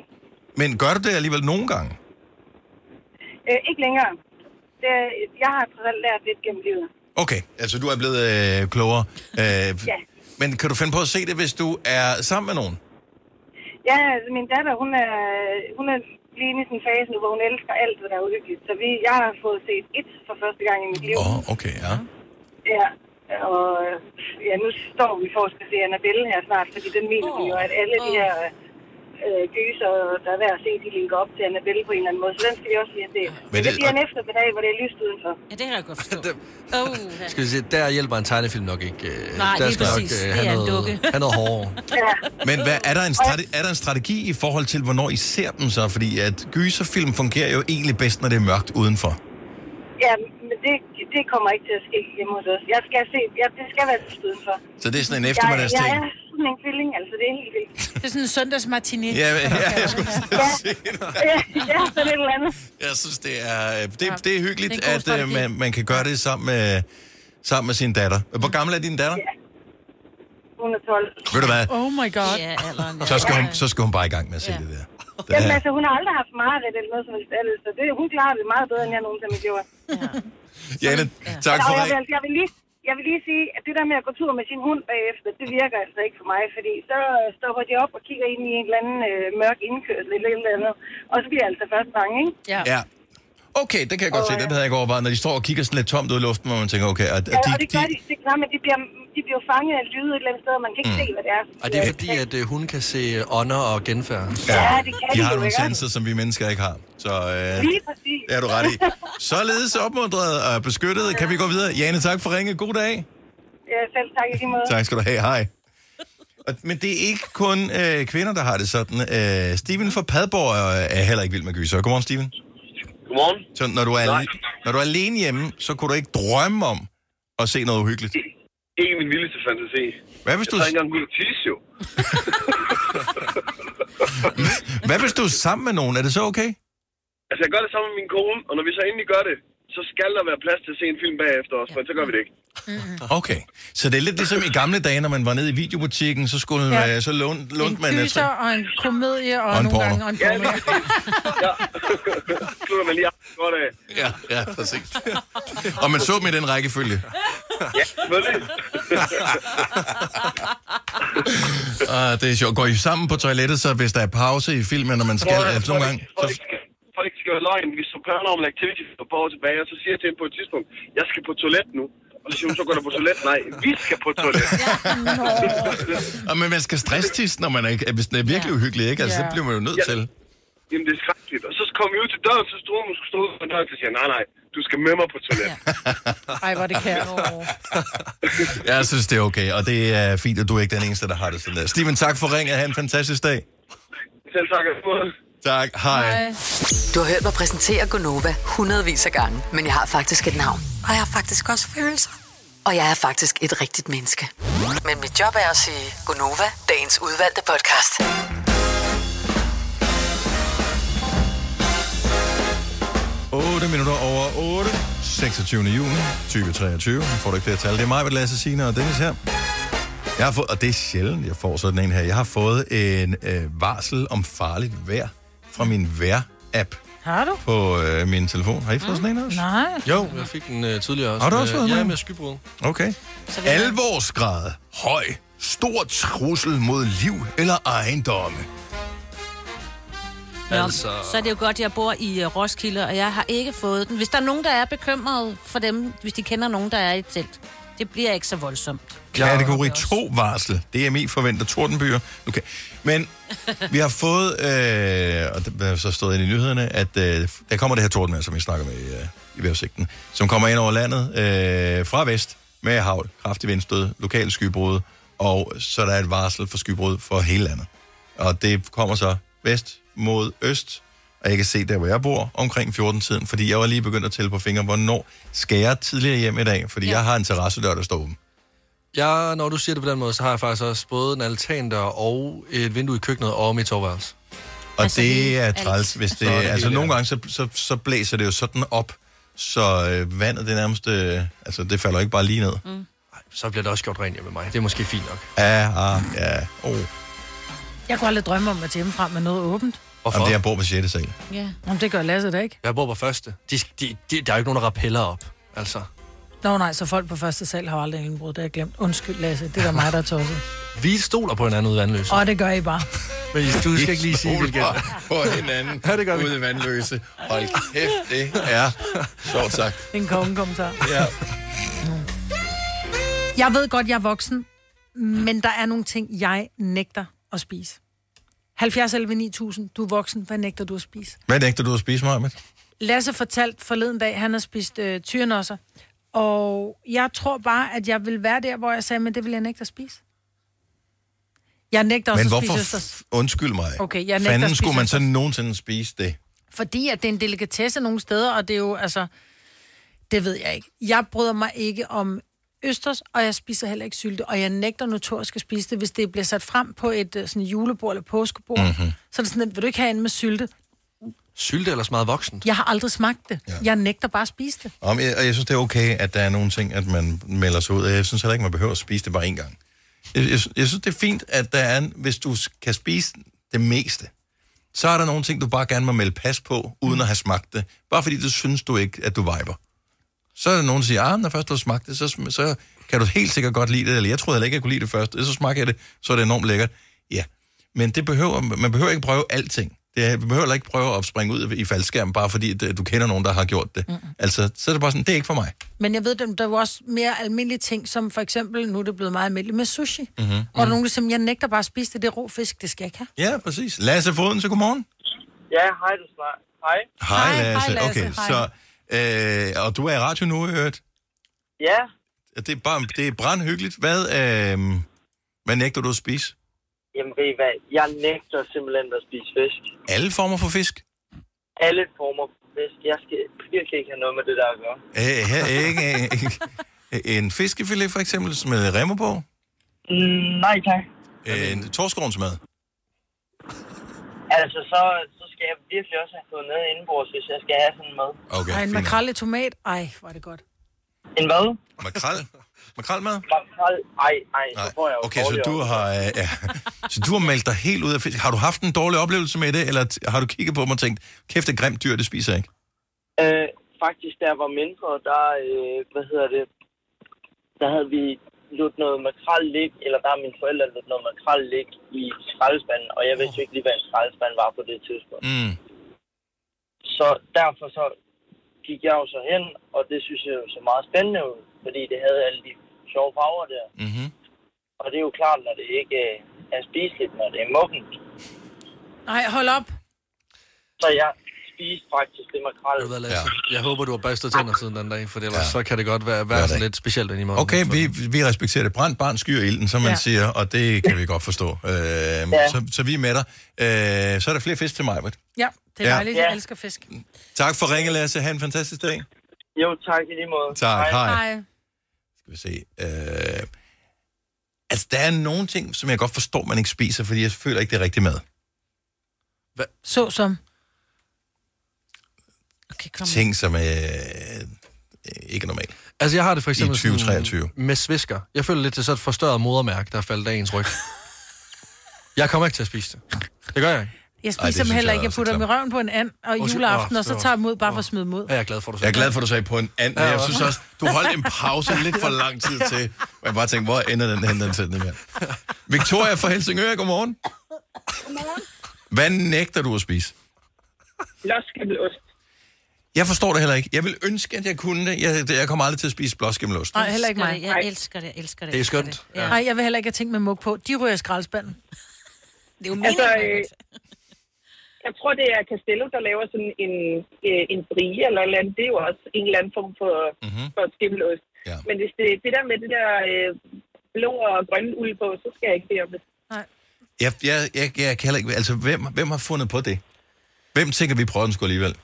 Speaker 1: men gør du det alligevel nogle gange?
Speaker 15: Øh, ikke længere. Det, jeg har trods alt lært lidt gennem livet.
Speaker 1: Okay, altså du er blevet øh, klogere. Øh, ja. Men kan du finde på at se det, hvis du er sammen med nogen?
Speaker 15: Ja, altså, min datter, hun er, hun er lige inde i sin fase nu, hvor hun elsker alt, hvad der er uhyggeligt. Så vi, jeg har fået set et for første gang i mit liv.
Speaker 1: Åh, oh, okay, ja.
Speaker 15: Ja, og øh, ja, nu står vi for at skal se Annabelle her snart, fordi den mener oh, jo, at alle oh. de her øh, gyser, der er værd at se, de linker op til Annabelle på en eller anden måde. Så den skal vi også lige have set. Men det,
Speaker 3: det-
Speaker 15: bliver en eftermiddag, hvor det er lyst udenfor.
Speaker 4: Ja, det kan jeg godt forstå.
Speaker 15: oh.
Speaker 3: Skal vi se, der hjælper en tegnefilm nok ikke. øh,
Speaker 15: Nej,
Speaker 3: der
Speaker 15: lige præcis.
Speaker 3: øh,
Speaker 15: Det
Speaker 3: have
Speaker 15: er en
Speaker 3: noget,
Speaker 15: dukke.
Speaker 3: have noget hårdere.
Speaker 15: ja.
Speaker 1: Men hvad, er, der en strate- er der en strategi i forhold til, hvornår I ser dem så? Fordi at gyserfilm fungerer jo egentlig bedst, når det er mørkt udenfor.
Speaker 15: Ja, men det, det kommer ikke til at ske hjemme hos os. Jeg skal se, jeg, det skal være lyst udenfor.
Speaker 1: Så det er sådan en eftermiddagsting?
Speaker 15: Jeg, jeg er sådan en kvilling, altså det er helt vildt.
Speaker 2: Det er sådan en søndagsmartini.
Speaker 1: Ja, ja, jeg skulle sige
Speaker 15: ja, ja, sådan et eller andet.
Speaker 1: Jeg synes, det er, øh, det, det er hyggeligt, det
Speaker 15: Det er en
Speaker 1: er
Speaker 15: god
Speaker 1: at øh,
Speaker 15: strategi.
Speaker 1: man, man kan gøre det sammen med, sammen med sin datter. Hvor gammel er din datter?
Speaker 15: Hun er 12.
Speaker 1: Ved du hvad?
Speaker 2: Oh my god.
Speaker 15: Ja, alderen.
Speaker 1: Så, skal hun, så skal hun bare i gang med at se det der.
Speaker 15: Jamen altså, hun har aldrig haft mareridt eller noget som helst andet, så det, hun klarer det meget bedre, end jeg nogensinde gjorde.
Speaker 1: Janne, tak
Speaker 15: og
Speaker 1: for
Speaker 15: jeg,
Speaker 1: det.
Speaker 15: vil, jeg, vil lige, jeg vil lige sige, at det der med at gå tur med sin hund bagefter, det virker altså ikke for mig, fordi så øh, stopper de op og kigger ind i en eller anden øh, mørk indkørsel eller et eller andet, og så bliver jeg altså først bange, ikke?
Speaker 1: Ja. Okay, det kan jeg godt se. Den havde jeg ikke overvejet, når de står og kigger sådan lidt tomt ud i luften, hvor man tænker, okay, at,
Speaker 15: øh, Ja,
Speaker 1: at de,
Speaker 15: og det gør de, det gør, men de bliver, de bliver fanget af lyde et eller andet sted, og man kan ikke
Speaker 1: Mm.
Speaker 15: se, hvad det er.
Speaker 3: Og det er fordi, at øh, hun kan se øh, ånder og genfærd.
Speaker 15: Ja, det kan
Speaker 1: de
Speaker 15: de
Speaker 1: har
Speaker 15: jo,
Speaker 1: nogle
Speaker 15: ikke?
Speaker 1: sanser, som vi mennesker ikke har. Så øh,
Speaker 15: Lige præcis.
Speaker 1: det er du ret i. Således opmuntret og beskyttet kan vi gå videre. Jane, tak for ringe. God dag.
Speaker 15: Ja, selv tak i lige måde.
Speaker 1: Tak skal du have. Hej. Og- Men det er ikke kun øh, kvinder, der har det sådan. Øh, Steven fra Padborg øh, er heller ikke vild med gyser. Godmorgen, Steven.
Speaker 16: Godmorgen.
Speaker 1: Så når du, er, al- når du er alene hjemme, så kunne du ikke drømme om at se noget uhyggeligt.
Speaker 16: Ikke min vildeste fantasi.
Speaker 1: Hvad hvis
Speaker 16: jeg
Speaker 1: du-
Speaker 16: Jeg engang ud og tisse, jo.
Speaker 1: Hvad hvis du er sammen med nogen? Er det så okay?
Speaker 16: Altså, jeg gør det sammen med min kone, og når vi så endelig gør det, så skal der være plads til at se en film bagefter os, men så gør vi det ikke.
Speaker 1: Okay. Så det er lidt ligesom i gamle dage, når man var nede i videobutikken, så, skulle,
Speaker 2: Ja.
Speaker 1: ja. øh, så lån, lånte man...
Speaker 2: en
Speaker 1: altså-
Speaker 2: gyser og en komedie og,
Speaker 1: Og en
Speaker 2: nogle
Speaker 1: porno.
Speaker 2: gange og en porno.
Speaker 16: Slutter man lige af. godt af.
Speaker 1: Ja, ja, præcis. Og man så dem i den rækkefølge.
Speaker 16: Ja, selvfølgelig.
Speaker 1: Uh, det er sjovt. Går I sammen på toilettet, så hvis der er pause i filmen, når man skal...
Speaker 16: Prøv at-
Speaker 1: Altså, nogle gange,
Speaker 16: For det ikke skal- for det ikke skal være løgn. Vi så paranormal activity for et par år tilbage, og så siger jeg til hende på et tidspunkt, jeg skal på toilet nu. Og så siger hun, så går du på toilet. Nej, vi skal på toilet.
Speaker 1: og, Ah, men man skal stresstisse, når man er, hvis den er virkelig uhyggelig, ikke? Altså, det bliver man jo nødt til.
Speaker 16: Jamen, det er skrækkeligt. Og så kom vi ud til døren, så stod hun, hun skulle stå ud for døren, så siger jeg, nej, nej, du skal med mig på toilet.
Speaker 2: Ej, hvor er det kært.
Speaker 1: Jeg synes, det er okay, og det er fint, at du er ikke den eneste, der har det sådan der. Steven, tak for ringet. Ha' en fantastisk dag.
Speaker 16: Selv tak.
Speaker 1: Tak. Hej. Hej.
Speaker 5: Du har hørt mig præsentere Gonova hundredvis af gange, men jeg har faktisk et navn. Og jeg har faktisk også følelser. Og jeg er faktisk et rigtigt menneske. Men mit job er at sige Gonova, dagens udvalgte podcast.
Speaker 1: Hej. 8 minutter over 8. 26. juni 2023. Får du ikke flere tal? Det er mig, Lasse Signe og Dennis her. Jeg har fået, og det er sjældent, jeg får sådan en her. Jeg har fået en øh, varsel om farligt vejr fra min vejr-app
Speaker 2: Har du? Mm.
Speaker 1: på øh, min telefon. Har I fået sådan en også?
Speaker 2: Nej.
Speaker 3: Jo, jeg fik den øh, tidligere også.
Speaker 1: Har du også
Speaker 3: med-
Speaker 1: fået
Speaker 3: Ja,
Speaker 1: den?
Speaker 3: med skybrud.
Speaker 1: Okay.
Speaker 3: Så vi-
Speaker 1: Alvorsgrad. Høj. Stor trussel mod liv eller ejendomme.
Speaker 4: Nå, altså... Så er det jo godt, at jeg bor i øh, Roskilde, og jeg har ikke fået den. Hvis der er nogen, der er bekymret for dem, hvis de kender nogen, der er i et telt, det bliver ikke så voldsomt.
Speaker 1: Kategori 2 varsel. DMI forventer tordenbyer. Okay. Men vi har fået, øh, og det har så stået ind i nyhederne, at øh, der kommer det her tordenvejr, som vi snakker med i, øh, i vejrudsigten, som kommer ind over landet øh, fra vest med havl, kraftig vindstød, lokale skybrud, og så er der et varsel for skybrud for hele landet. Og det kommer så vest mod øst, og jeg kan se der, hvor jeg bor, omkring 14-tiden, fordi jeg var lige begyndt at tælle på fingre, hvornår skal jeg tidligere hjem i dag, fordi ja. jeg har en terrassedør, der står åben.
Speaker 3: Ja, når du siger det på den måde, så har jeg faktisk også både en altan der og et vindue i køkkenet og mit soveværelse.
Speaker 1: Og altså, det er træls, hvis det...
Speaker 3: Så er det
Speaker 1: altså,
Speaker 3: hele,
Speaker 1: nogle gange, så, så, så blæser det jo sådan op, så øh, vandet, det nærmest... Øh, altså, det falder ikke bare lige ned. Mm.
Speaker 3: Så bliver det også gjort rent hjemme med mig. Det er måske fint nok.
Speaker 1: Ja, ah, ja, oh.
Speaker 2: Jeg kunne aldrig drømme om at tage hjemmefra med noget åbent.
Speaker 1: Hvorfor? Jamen, det er jeg bor på 6. sal.
Speaker 2: Ja. Jamen, det gør Lasse da ikke.
Speaker 3: Jeg bor på første. De, de, de, der er jo ikke nogen, der rappeller op, altså.
Speaker 2: Nå nej, så folk på første sal har aldrig indbrud, det har jeg glemt. Undskyld, Lasse, det er da mig, der er tosset.
Speaker 3: Vi stoler på hinanden ude i vandløse.
Speaker 2: Og det gør I bare.
Speaker 3: Men du skal ikke lige sige det igen.
Speaker 1: på hinanden
Speaker 3: ja, det gør vi.
Speaker 1: ude i vandløse. Hold kæft, det er sjovt sagt.
Speaker 2: Det er en kongekommentar.
Speaker 1: Ja.
Speaker 2: Jeg ved godt, jeg er voksen, men der er nogle ting, jeg nægter at spise. 70 11 9000, du er voksen, hvad nægter du at spise?
Speaker 1: Hvad nægter du at spise, Marmit?
Speaker 2: Lasse fortalte forleden dag, han har spist øh, tyrenosser, og jeg tror bare, at jeg vil være der, hvor jeg sagde, men det vil jeg nægte at spise. Jeg nægter også
Speaker 1: Men
Speaker 2: at
Speaker 1: hvorfor...
Speaker 2: spise østers.
Speaker 1: F- undskyld mig.
Speaker 2: Okay, jeg nægter at
Speaker 1: Fanden
Speaker 2: spise
Speaker 1: skulle man så
Speaker 2: østers.
Speaker 1: nogensinde spise det?
Speaker 2: Fordi at det er en delikatesse nogle steder, og det er jo, altså, det ved jeg ikke. Jeg bryder mig ikke om østers, og jeg spiser heller ikke sylte, og jeg nægter notorisk at spise det, hvis det bliver sat frem på et øh, sådan julebord eller påskebord.
Speaker 1: Mhm.
Speaker 2: Mm-hmm. Så er det sådan, at vil du ikke have en med sylte?
Speaker 3: Sylte eller meget voksent?
Speaker 2: Jeg har aldrig smagt det. Ja. Jeg nægter bare at spise det.
Speaker 1: Om, jeg, og jeg synes, det er okay, at der er nogle ting, at man melder sig ud. af. Jeg synes heller ikke, man behøver at spise det bare en gang. Jeg, jeg, jeg synes, det er fint, at der er, en- hvis du s- kan spise det meste, så er der nogle ting, du bare gerne må melde pas på, uden at have smagt det. Bare fordi du synes du ikke, at du viber. Så er der nogen, der siger, at når først du har smagt det, så, sm- så kan du helt sikkert godt lide det, eller jeg troede heller ikke, jeg kunne lide det først, så smager jeg det, så er det enormt lækkert. Ja, men det behøver, man behøver ikke prøve alting. Det er, man behøver heller ikke prøve at springe ud i faldskærmen, bare fordi det, du kender nogen, der har gjort det. Mm. Altså, så er det bare sådan, det er ikke for mig.
Speaker 2: Men jeg ved, der er jo også mere almindelige ting, som for eksempel, nu er det blevet meget almindeligt med sushi. Mm.
Speaker 1: Mm-hmm.
Speaker 2: Og der er nogen, der siger, jeg nægter bare at spise det, det er rå fisk, det skal jeg ikke have.
Speaker 1: Ja, præcis. Lasse Foden, så godmorgen.
Speaker 8: Ja, hej du snart. Hej.
Speaker 1: Hej,
Speaker 8: hej,
Speaker 1: Lasse.
Speaker 8: Lasse.
Speaker 1: Okay,
Speaker 8: Hej.
Speaker 1: så, øh, og du er i radio nu, i øvrigt.
Speaker 8: Ja,
Speaker 1: Det er, bare, det er brandhyggeligt. Hvad, øh, hvad nægter du at spise?
Speaker 8: jamen ved I hvad? Jeg nægter simpelthen at spise fisk.
Speaker 1: Alle former for fisk?
Speaker 8: Alle former for fisk. Jeg skal virkelig ikke have noget med det der at gøre.
Speaker 1: Øh, her, ikke, ikke, en fiskefilet for eksempel med remmer på?
Speaker 8: Mm, nej tak.
Speaker 1: Øh, En torskronsmad?
Speaker 8: Altså, så, så skal jeg virkelig også have fået noget indenbords, hvis jeg skal have sådan en mad.
Speaker 1: Okay,
Speaker 2: Ej, en makrel i tomat, ej, hvor er det godt.
Speaker 8: En hvad?
Speaker 1: Makrel? Makrelmad?
Speaker 8: Makrel? Ej, ej, så får jeg jo
Speaker 1: Okay, så
Speaker 8: dårligere.
Speaker 1: du har, øh, ja, så du har meldt dig helt ud af fisk. Har du haft en dårlig oplevelse med det, eller t- har du kigget på dem og tænkt, kæft, det er grimt dyr, det spiser jeg ikke?
Speaker 17: Øh, faktisk, der var mindre, der, øh, hvad hedder det, der havde vi lagt noget makrel lig, eller der har mine forældre lagt noget makrel lig i skraldespanden, og jeg vidste jo ikke lige, hvad en skraldespand var på det tidspunkt.
Speaker 1: Mm.
Speaker 17: Så derfor så gik jeg jo så hen, og det synes jeg jo så meget spændende ud, fordi det havde alle de sjove farver der.
Speaker 1: Mm-hmm.
Speaker 17: Og det er jo klart, når det ikke øh, er spiseligt, når det er muggent.
Speaker 2: Nej, hold op.
Speaker 17: Så jeg spiste faktisk det makrel.
Speaker 3: Ja. Jeg håber, du har børstet tænder siden den dag, for ellers ja. så kan det godt være, være sådan lidt specielt ind i morgen.
Speaker 1: Okay, vi, vi respekterer det. Brændt barn skyer ilden, som man
Speaker 3: Ja.
Speaker 1: ja. siger, og det kan vi godt forstå. Øh, ja. så, så vi er med dig. Øh, så er der flere fisk til mig,
Speaker 2: Ja, det er
Speaker 1: Ja.
Speaker 2: dejligt. Jeg elsker fisk.
Speaker 1: Tak for ringe, Lasse. Ha' en fantastisk dag.
Speaker 17: Jo, tak i lige måde.
Speaker 1: Tak, hej.
Speaker 2: Hej.
Speaker 1: Skal vi se. Øh, altså, der er nogle ting, som jeg godt forstår, man ikke spiser, fordi jeg føler ikke, det er rigtig mad.
Speaker 2: Så som.
Speaker 1: Ting, som øh, ikke er normalt.
Speaker 3: Altså, jeg har det for eksempel
Speaker 1: I 2023.
Speaker 3: Sådan, med svisker. Jeg føler lidt til sådan et forstørret modermærke, der er faldet af ens ryg. jeg kommer ikke til at spise det. Det gør jeg ikke.
Speaker 2: Jeg spiser dem heller ikke. Jeg putter dem i røven på en and og
Speaker 3: Åh, se-
Speaker 2: juleaften,
Speaker 3: åh,
Speaker 2: og så
Speaker 3: det
Speaker 2: tager jeg dem ud bare for at smide dem ud.
Speaker 3: Ja, jeg er glad for, du
Speaker 1: Jeg er glad for, at du sagde på en anden, men
Speaker 3: Ja,
Speaker 1: jeg
Speaker 3: hva'?
Speaker 1: synes også, du holdt en pause lidt for lang tid til. Og Jeg bare tænkte, hvor ender den hen, den sætning her? Victoria fra Helsingør, godmorgen.
Speaker 18: Godmorgen.
Speaker 1: Hvad nægter du at spise?
Speaker 18: Blåskimmelost.
Speaker 1: Jeg forstår det heller ikke. Jeg vil ønske, at jeg kunne det. Jeg, jeg kommer aldrig til at spise blåskimmelost.
Speaker 2: Nej, heller ikke mig.
Speaker 4: Jeg elsker det, jeg elsker det.
Speaker 1: Det er
Speaker 4: elsker
Speaker 1: skønt.
Speaker 4: Ja.
Speaker 2: Nej, jeg vil heller ikke have ting med mug på. De ryger i skraldespanden.
Speaker 4: Det er jo
Speaker 2: meningen,
Speaker 18: Altså, øh, jeg tror, det er Castello, der laver sådan en, øh, en brie eller et eller andet. Det er jo også en eller anden form for, mm-hmm. for skimmelost.
Speaker 1: Mhm. Ja.
Speaker 18: Men hvis det, det der med det der øh, blå og grønne uld på, så skal jeg ikke bede om det.
Speaker 1: Jeg, jeg, jeg, jeg kan heller ikke... Altså, hvem, hvem har fundet på det? Hvem tænker, vi prøver den sgu alligevel?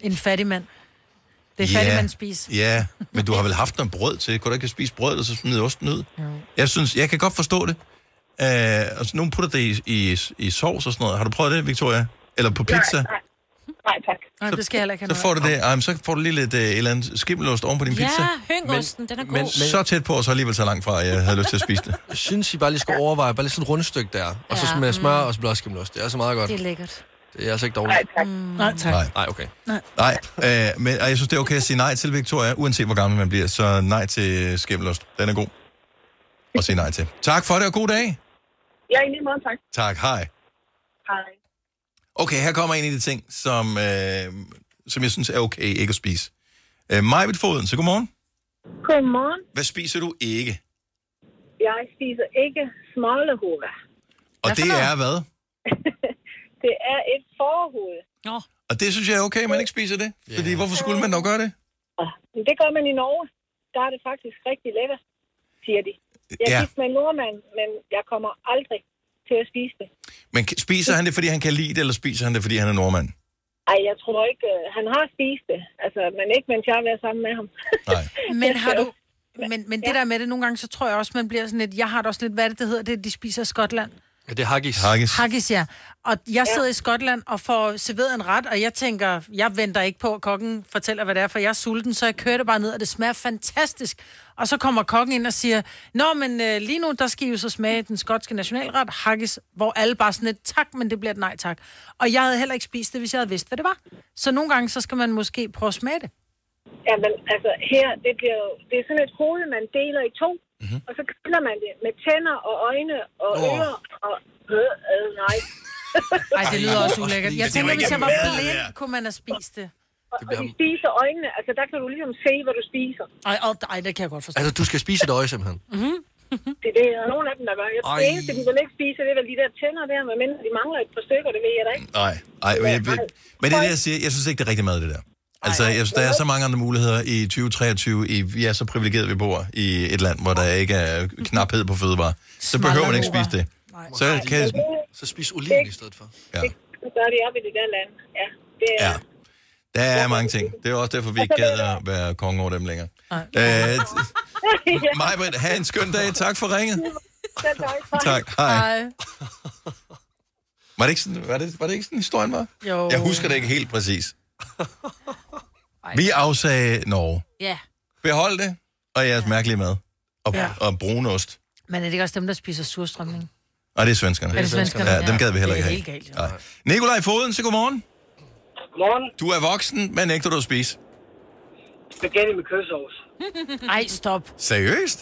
Speaker 2: En fattig mand. Det er
Speaker 1: Ja.
Speaker 2: fattig mand spis.
Speaker 1: Ja, men du har vel haft noget brød til. Kunne du ikke spise brød, og så smide osten ud? Jeg synes, jeg kan godt forstå det. Uh, altså, nogen putter det i, i, i sovs og sådan noget. Har du prøvet det, Victoria? Eller på pizza?
Speaker 18: Nej, nej. nej tak.
Speaker 2: Nej, det skal jeg heller ikke
Speaker 1: Så får du det, ej, men så får du lige lidt øh, et eller andet skimmelost oven på din
Speaker 2: Ja,
Speaker 1: pizza.
Speaker 2: høngosten, den er god.
Speaker 1: Men, så tæt på, og så alligevel så langt fra, at jeg havde lyst til at spise det.
Speaker 3: Jeg synes, I bare lige skulle overveje, bare lige sådan et rundstykke der, og så
Speaker 4: Ja,
Speaker 3: med smør
Speaker 4: mm.
Speaker 3: og blåskimmelost. Det er altså meget godt.
Speaker 4: Det er lækkert.
Speaker 3: Det er altså ikke dårligt.
Speaker 18: tak.
Speaker 2: Nej, tak.
Speaker 1: Nej.
Speaker 3: Nej, okay.
Speaker 1: Nej, øh, men og jeg synes, det er okay at sige nej til, Victoria, uanset hvor gammel man bliver. Så nej til skimmelost. Den er god at sige nej til. Tak for det, og god dag.
Speaker 18: Ja, i lige måde, tak.
Speaker 1: Tak, hej.
Speaker 18: Hej.
Speaker 1: Okay, her kommer en af de ting, som, øh, som jeg synes er okay ikke at spise. Øh, Majbet Foden, så godmorgen.
Speaker 19: Godmorgen.
Speaker 1: Hvad spiser du ikke?
Speaker 19: Jeg spiser ikke smålehova.
Speaker 1: Og det er hvad?
Speaker 19: Det er et forhoved.
Speaker 4: Nå.
Speaker 1: Og det synes jeg er okay, at man ikke spiser det. Fordi hvorfor skulle man dog gøre det?
Speaker 19: Men det gør man i Norge. Der er det faktisk rigtig lækkert, siger de. Jeg
Speaker 1: Ja.
Speaker 19: ja. gik med en nordmand, men jeg kommer aldrig til at spise det.
Speaker 1: Men k- spiser han det, fordi han kan lide det, eller spiser han det, fordi han er nordmand?
Speaker 19: Ej, jeg tror ikke, øh, han har spist det. Altså, men ikke, mens jeg har været sammen med ham.
Speaker 2: Men har du... Men, men det der med det, nogle gange, så tror jeg også, man bliver sådan lidt... Jeg har det også lidt... Hvad er det, det hedder? Det, de spiser i Skotland.
Speaker 3: Ja, det er haggis.
Speaker 1: Haggis.
Speaker 2: Haggis, ja. Og jeg sidder i Skotland og får serveret en ret, og jeg tænker, jeg venter ikke på, at kokken fortæller, hvad det er, for jeg er sulten, så jeg kører det bare ned, og det smager fantastisk. Og så kommer kokken ind og siger, Nå, men øh, lige nu, der skal I jo så smage den skotske nationalret, haggis, hvor alle bare sådan lidt, tak, men det bliver et nej tak. Og jeg havde heller ikke spist det, hvis jeg havde vidst, hvad det var. Så nogle gange, så skal man måske prøve at smage det.
Speaker 19: Ja, men altså her, det, bliver jo, det er sådan et hoved, man deler i to, mm-hmm. og så kender man det med tænder og øjne og
Speaker 2: Åh.
Speaker 19: oh. ører og... Øh, øh, nej.
Speaker 2: Ej, det lyder også ulækkert. Jeg
Speaker 19: Men det er jo
Speaker 2: tænker,
Speaker 19: ikke
Speaker 2: hvis jeg var
Speaker 19: mad, det
Speaker 2: blind,
Speaker 19: der.
Speaker 2: kunne man have spist det.
Speaker 19: Og, og de spiser øjnene, altså der kan du ligesom se, hvad du spiser.
Speaker 2: Ej, og, ej det kan jeg godt forstå.
Speaker 3: Altså, du skal spise et øje, simpelthen.
Speaker 19: Mm-hmm. Det er det, der er nogle af dem, der gør. Jeg, det
Speaker 3: Ej.
Speaker 19: eneste, de vil ikke spise, det er vel de der tænder der, men de mangler et par stykker, det ved jeg da ikke.
Speaker 1: Nej, Ej, men, jeg, men det er det, jeg siger. Jeg synes ikke, det er rigtig mad, det der. Altså, jeg synes, der er så mange andre muligheder i 2023. I, vi er så privilegerede, vi bor i et land, hvor der ikke er knaphed på fødevarer. Så behøver man ikke spise det. Så kan jeg,
Speaker 3: Så spis oliven i stedet for.
Speaker 1: Ja.
Speaker 19: Så gør de op i det der land. Ja, det er...
Speaker 1: Ja. der er mange ting. Det er også derfor, vi ikke gad at være konge over dem længere. Øh, Majbrit, have en skøn dag. Tak for ringet.
Speaker 19: Selv tak.
Speaker 1: Tak. Hej. Var det ikke sådan, var det, var det ikke sådan historien var?
Speaker 2: Jo.
Speaker 1: Jeg husker det ikke helt præcis. Vi afsagde Norge.
Speaker 2: Ja.
Speaker 1: Behold det, og jeres mærkelige mad. Og,
Speaker 2: Ja.
Speaker 1: ja. og brunost.
Speaker 2: Men er det ikke også dem, der spiser surstrømning?
Speaker 1: Og det er svenskerne.
Speaker 2: Er det svenskerne?
Speaker 1: Ja, dem
Speaker 2: Ja.
Speaker 1: gad vi heller
Speaker 2: Det er
Speaker 1: ikke
Speaker 2: helt
Speaker 1: have. Nej. Nikolaj Foden, så godmorgen.
Speaker 20: Godmorgen.
Speaker 1: Du er voksen, men nægter du at spise.
Speaker 20: Spaghetti med kødsovs.
Speaker 2: Ej, stop.
Speaker 1: Seriøst?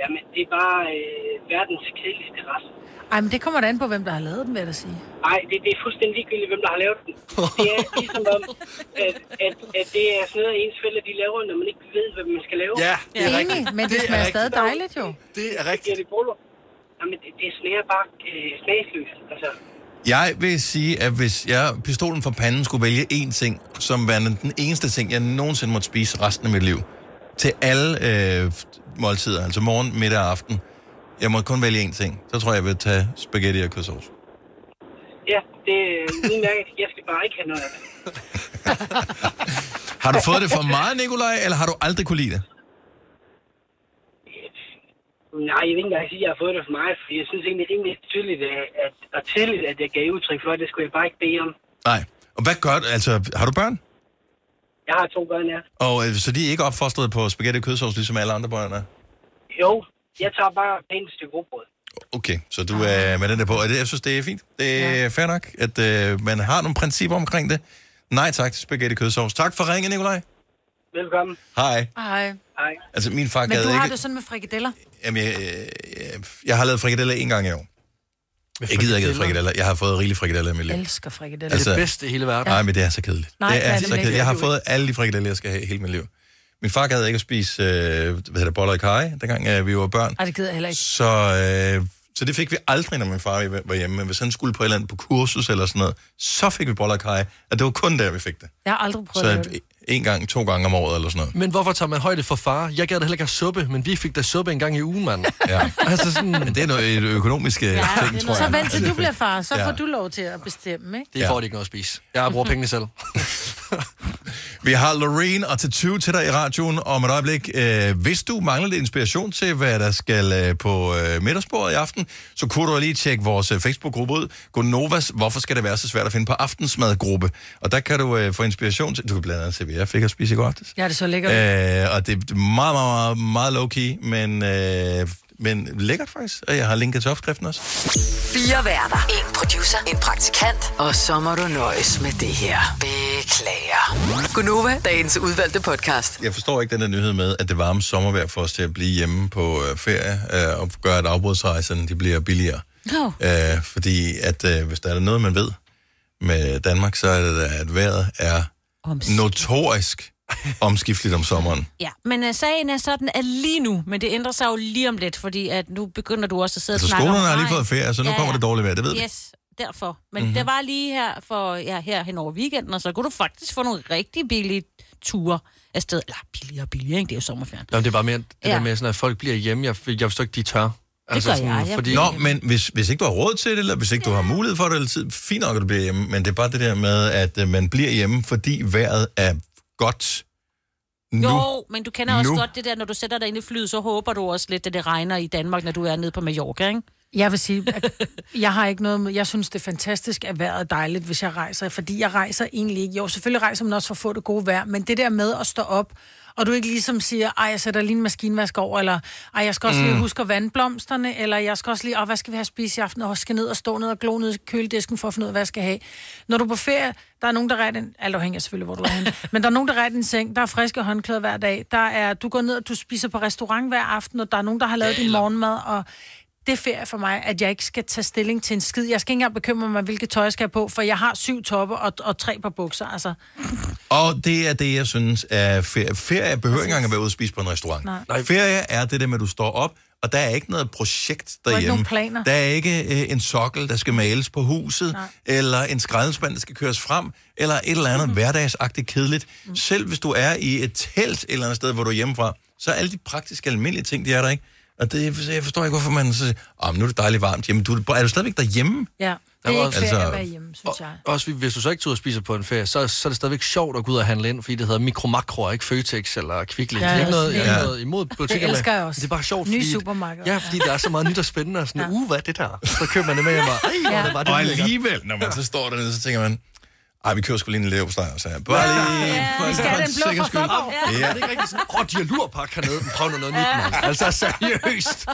Speaker 20: Jamen, det er bare øh, verdens kedeligste ret.
Speaker 2: Ej, men det kommer da an på, hvem der har lavet den, vil jeg da sige.
Speaker 20: Nej, det, det er fuldstændig ligegyldigt, hvem der har lavet den. Det er ligesom om, at, at, at det er sådan noget, ens fælder de laver, når man ikke ved, hvad man skal lave.
Speaker 3: Ja, det er
Speaker 2: Enig,
Speaker 3: rigtigt.
Speaker 2: men det, det
Speaker 3: er
Speaker 2: smager
Speaker 3: rigtigt.
Speaker 2: stadig dejligt jo.
Speaker 3: Det er rigtigt.
Speaker 20: Det boller. Jamen, det, det smager bare øh, smagsløst. Altså,
Speaker 1: Jeg vil sige, at hvis jeg pistolen for panden skulle vælge én ting, som værende den eneste ting, jeg nogensinde måtte spise resten af mit liv, til alle øh, måltider, altså morgen, middag og aften, jeg må kun vælge én ting, så tror jeg, jeg vil tage spaghetti og kødsovs.
Speaker 20: ja, det er udmærket. Jeg skal bare ikke have noget af det.
Speaker 1: Har du fået det for meget, Nikolaj, eller har du aldrig kunne lide det?
Speaker 20: Nej, jeg vil ikke engang sige, at jeg har fået det for mig, for jeg synes egentlig rimelig tydeligt at, at, og tidligt, at jeg gav udtryk for, at det skulle jeg bare ikke bede om.
Speaker 1: Nej. Og hvad gør du? Altså, har du børn?
Speaker 20: Jeg har to børn, ja.
Speaker 1: Og øh, så de er ikke opfostret på spaghetti og kødsovs, ligesom alle andre børn er?
Speaker 20: Jo, jeg tager bare en stykke råbrød.
Speaker 1: Okay, så du
Speaker 2: Ah.
Speaker 1: er med den der på. Og det, jeg synes, det er fint. Det er ja. fair nok, at øh, man har nogle principper omkring det. Nej tak til spaghetti og kødsovs. Tak for ringen, Nikolaj.
Speaker 20: Velkommen.
Speaker 1: Hej.
Speaker 2: Ej.
Speaker 20: Hej.
Speaker 1: Altså, min far
Speaker 2: Men
Speaker 1: gad
Speaker 2: du har
Speaker 1: ikke...
Speaker 2: det jo sådan med frikadeller.
Speaker 1: Jamen, jeg, jeg, jeg har lavet frikadeller en gang i år. Jeg gider ikke have frikadeller. Jeg har fået rigeligt frikadeller i mit liv.
Speaker 2: Jeg elsker frikadeller.
Speaker 1: Altså-
Speaker 3: bedste i hele verden.
Speaker 1: Nej, men det er så kedeligt.
Speaker 2: Nej,
Speaker 1: det
Speaker 2: det er
Speaker 1: er,
Speaker 2: det
Speaker 1: så
Speaker 2: nemlig.
Speaker 1: kedeligt. Jeg har fået alle de frikadeller, jeg skal have i hele mit liv. Min far gad ikke at spise øh, hvad hedder det, boller i kaj, dengang øh, vi var børn.
Speaker 2: Ej, det gider jeg heller ikke.
Speaker 1: Så, øh, så det fik vi aldrig, når min far var hjemme. Men hvis han skulle på et eller andet på kursus eller sådan noget, så fik vi boller og kaj, og det var kun der, vi fik det.
Speaker 2: Jeg har aldrig prøvet at lave
Speaker 1: Så en gang, to gange om året eller sådan noget.
Speaker 3: Men hvorfor tager man højde for far? Jeg gad da heller ikke have suppe, men vi fik da suppe en gang i ugen, mand.
Speaker 1: Ja.
Speaker 3: altså sådan...
Speaker 1: Men det er noget et økonomisk ja, ting, tror jeg.
Speaker 2: Så vent til du bliver far, så
Speaker 1: Ja.
Speaker 2: får du lov til at bestemme, ikke?
Speaker 3: Det får de ikke noget at spise. Jeg bruger pengene selv.
Speaker 1: Vi har Lorraine og til 20 til dig i radioen om et øjeblik. Øh, hvis du mangler lidt inspiration til, hvad der skal øh, på øh, middagsbordet i aften, så kunne du lige tjekke vores øh, Facebook-gruppe ud. Gonovas, hvorfor skal det være så svært at finde på aftensmadgruppe? Og der kan du øh, få inspiration til... Du kan blandt andet se, hvad jeg fik at spise i går aftes.
Speaker 2: Ja, det er så lækkert.
Speaker 1: Øh, og det er meget, meget, meget, meget low-key, men, øh, men lækkert faktisk. Og jeg har linket til opskriften også.
Speaker 5: Fire værter. En producer. En praktikant. Og så må du nøjes med det her. Beklager. Gunova, dagens udvalgte podcast.
Speaker 1: Jeg forstår ikke den der nyhed med, at det varme sommervejr får os til at blive hjemme på øh, ferie øh, og gøre, at afbrudsrejserne de bliver billigere.
Speaker 2: No.
Speaker 1: Øh, fordi at øh, hvis der er noget, man ved med Danmark, så er det, da, at vejret er
Speaker 4: Omskifteligt.
Speaker 1: notorisk omskifteligt om sommeren.
Speaker 4: Ja, men uh, sagen er sådan, at lige nu, men det ændrer sig jo lige om lidt, fordi at nu begynder du også at sidde
Speaker 1: Altså
Speaker 4: og snakke
Speaker 1: skolerne
Speaker 4: om
Speaker 1: har lige
Speaker 4: regn.
Speaker 1: fået ferie, så nu kommer det dårlige vejr, det ved vi.
Speaker 4: Yes, derfor. Men
Speaker 1: Mhm.
Speaker 4: mm-hmm. det var lige her, for, ja, her hen over weekenden, og så kunne du faktisk få nogle rigtig billige ture afsted. Eller billigere og billigere, ikke? Det er jo sommerferien.
Speaker 3: Nå, men det er bare mere det
Speaker 4: Ja.
Speaker 3: ja. der med, sådan, at folk bliver hjemme. Jeg, jeg forstår ikke, de tør. Altså
Speaker 4: gør jeg. Jeg
Speaker 1: Fordi...
Speaker 4: bliver
Speaker 1: Nå, men hvis, hvis ikke du har råd til det, eller hvis ikke du har mulighed for det, eller tid, fint nok, at du bliver hjemme, men det er bare det der med, at øh, man bliver hjemme, fordi vejret er godt nu.
Speaker 4: Jo, men du kender også
Speaker 1: Nu.
Speaker 4: godt det der, når du sætter dig ind i flyet, så håber du også lidt, at det regner i Danmark, når du er nede på Mallorca, ikke?
Speaker 2: Jeg vil sige, at jeg har ikke noget med, jeg synes, det er fantastisk, at vejret er dejligt, hvis jeg rejser, fordi jeg rejser egentlig ikke. Jo, selvfølgelig rejser man også for at få det gode vejr, men det der med at stå op, og du ikke ligesom siger, ej, jeg sætter lige en maskinvask over, eller ej, jeg skal også lige
Speaker 4: Mm.
Speaker 2: huske at vande blomsterne, eller jeg skal også lige, åh, hvad skal vi have at spise i aften, og skal ned og stå ned og glo ned i køledisken for at finde ud af, hvad jeg skal have. Når du er på ferie, der er nogen, der rækker en, alt afhænger selvfølgelig, hvor du er henne, men der er nogen, der rækker en seng, der er friske håndklæder hver dag, der er, du går ned og du spiser på restaurant hver aften, og der er nogen, der har lavet din morgenmad, og det er ferie for mig, at jeg ikke skal tage stilling til en skid. Jeg skal ikke engang bekymre mig, hvilket tøj jeg skal have på, for jeg har syv toppe og, og tre par bukser, altså.
Speaker 1: Og det er det, jeg synes er ferie. Ferie behøver ikke engang at være ude og spise på en restaurant.
Speaker 2: Nej.
Speaker 1: Ferie er det der med, at du står op, og der er ikke noget projekt
Speaker 2: er
Speaker 1: derhjemme.
Speaker 2: ikke nogen planer.
Speaker 1: Der er ikke øh, en sokkel, der skal males på huset,
Speaker 2: Nej.
Speaker 1: Nej. eller en skraldespand, der skal køres frem, eller et eller
Speaker 2: Mhm.
Speaker 1: andet hverdagsagtigt kedeligt. Mm. Selv hvis du er i et telt et eller andet sted, hvor du er hjemmefra, så er alle de praktiske almindelige ting, de er der ikke. Og det, så jeg forstår ikke, hvorfor man så siger, oh, nu er det dejligt varmt. Jamen, du, er du stadigvæk derhjemme?
Speaker 2: Ja, det
Speaker 3: Der
Speaker 2: er
Speaker 3: var
Speaker 2: ikke
Speaker 3: også-
Speaker 2: ferie at
Speaker 3: altså-
Speaker 2: være hjemme, synes jeg.
Speaker 3: Også hvis du så ikke tager ud og spiser på en ferie, så, så er det stadigvæk sjovt at gå ud og handle ind, fordi det hedder mikromakro, ikke Føtex eller Kvickly.
Speaker 2: Ja,
Speaker 3: Ja, det er ikke noget,
Speaker 2: ja.
Speaker 3: jeg har
Speaker 2: Ja.
Speaker 3: noget imod
Speaker 2: Det
Speaker 3: butikker.
Speaker 2: elsker
Speaker 3: men
Speaker 2: jeg også.
Speaker 3: Det er bare sjovt,
Speaker 2: Nye
Speaker 3: fordi,
Speaker 2: supermarkeder,
Speaker 3: Ja, fordi der er så meget nyt og spændende, og sådan, ja. uh, hvad er det der? Så køber man det med hjem, og, Ej, hvor er det bare det
Speaker 1: og
Speaker 3: lækkert."
Speaker 1: alligevel, når man så står dernede, så tænker man, Ej, vi kører sgu lige en leverpostej, og så jeg, bare lige... for- for en sikker skyld."
Speaker 3: Ja.
Speaker 1: Ja.
Speaker 3: Er det ikke rigtigt sådan, åh, de har lurpak hernede, men prøv nu noget nyt, mand. Altså, seriøst.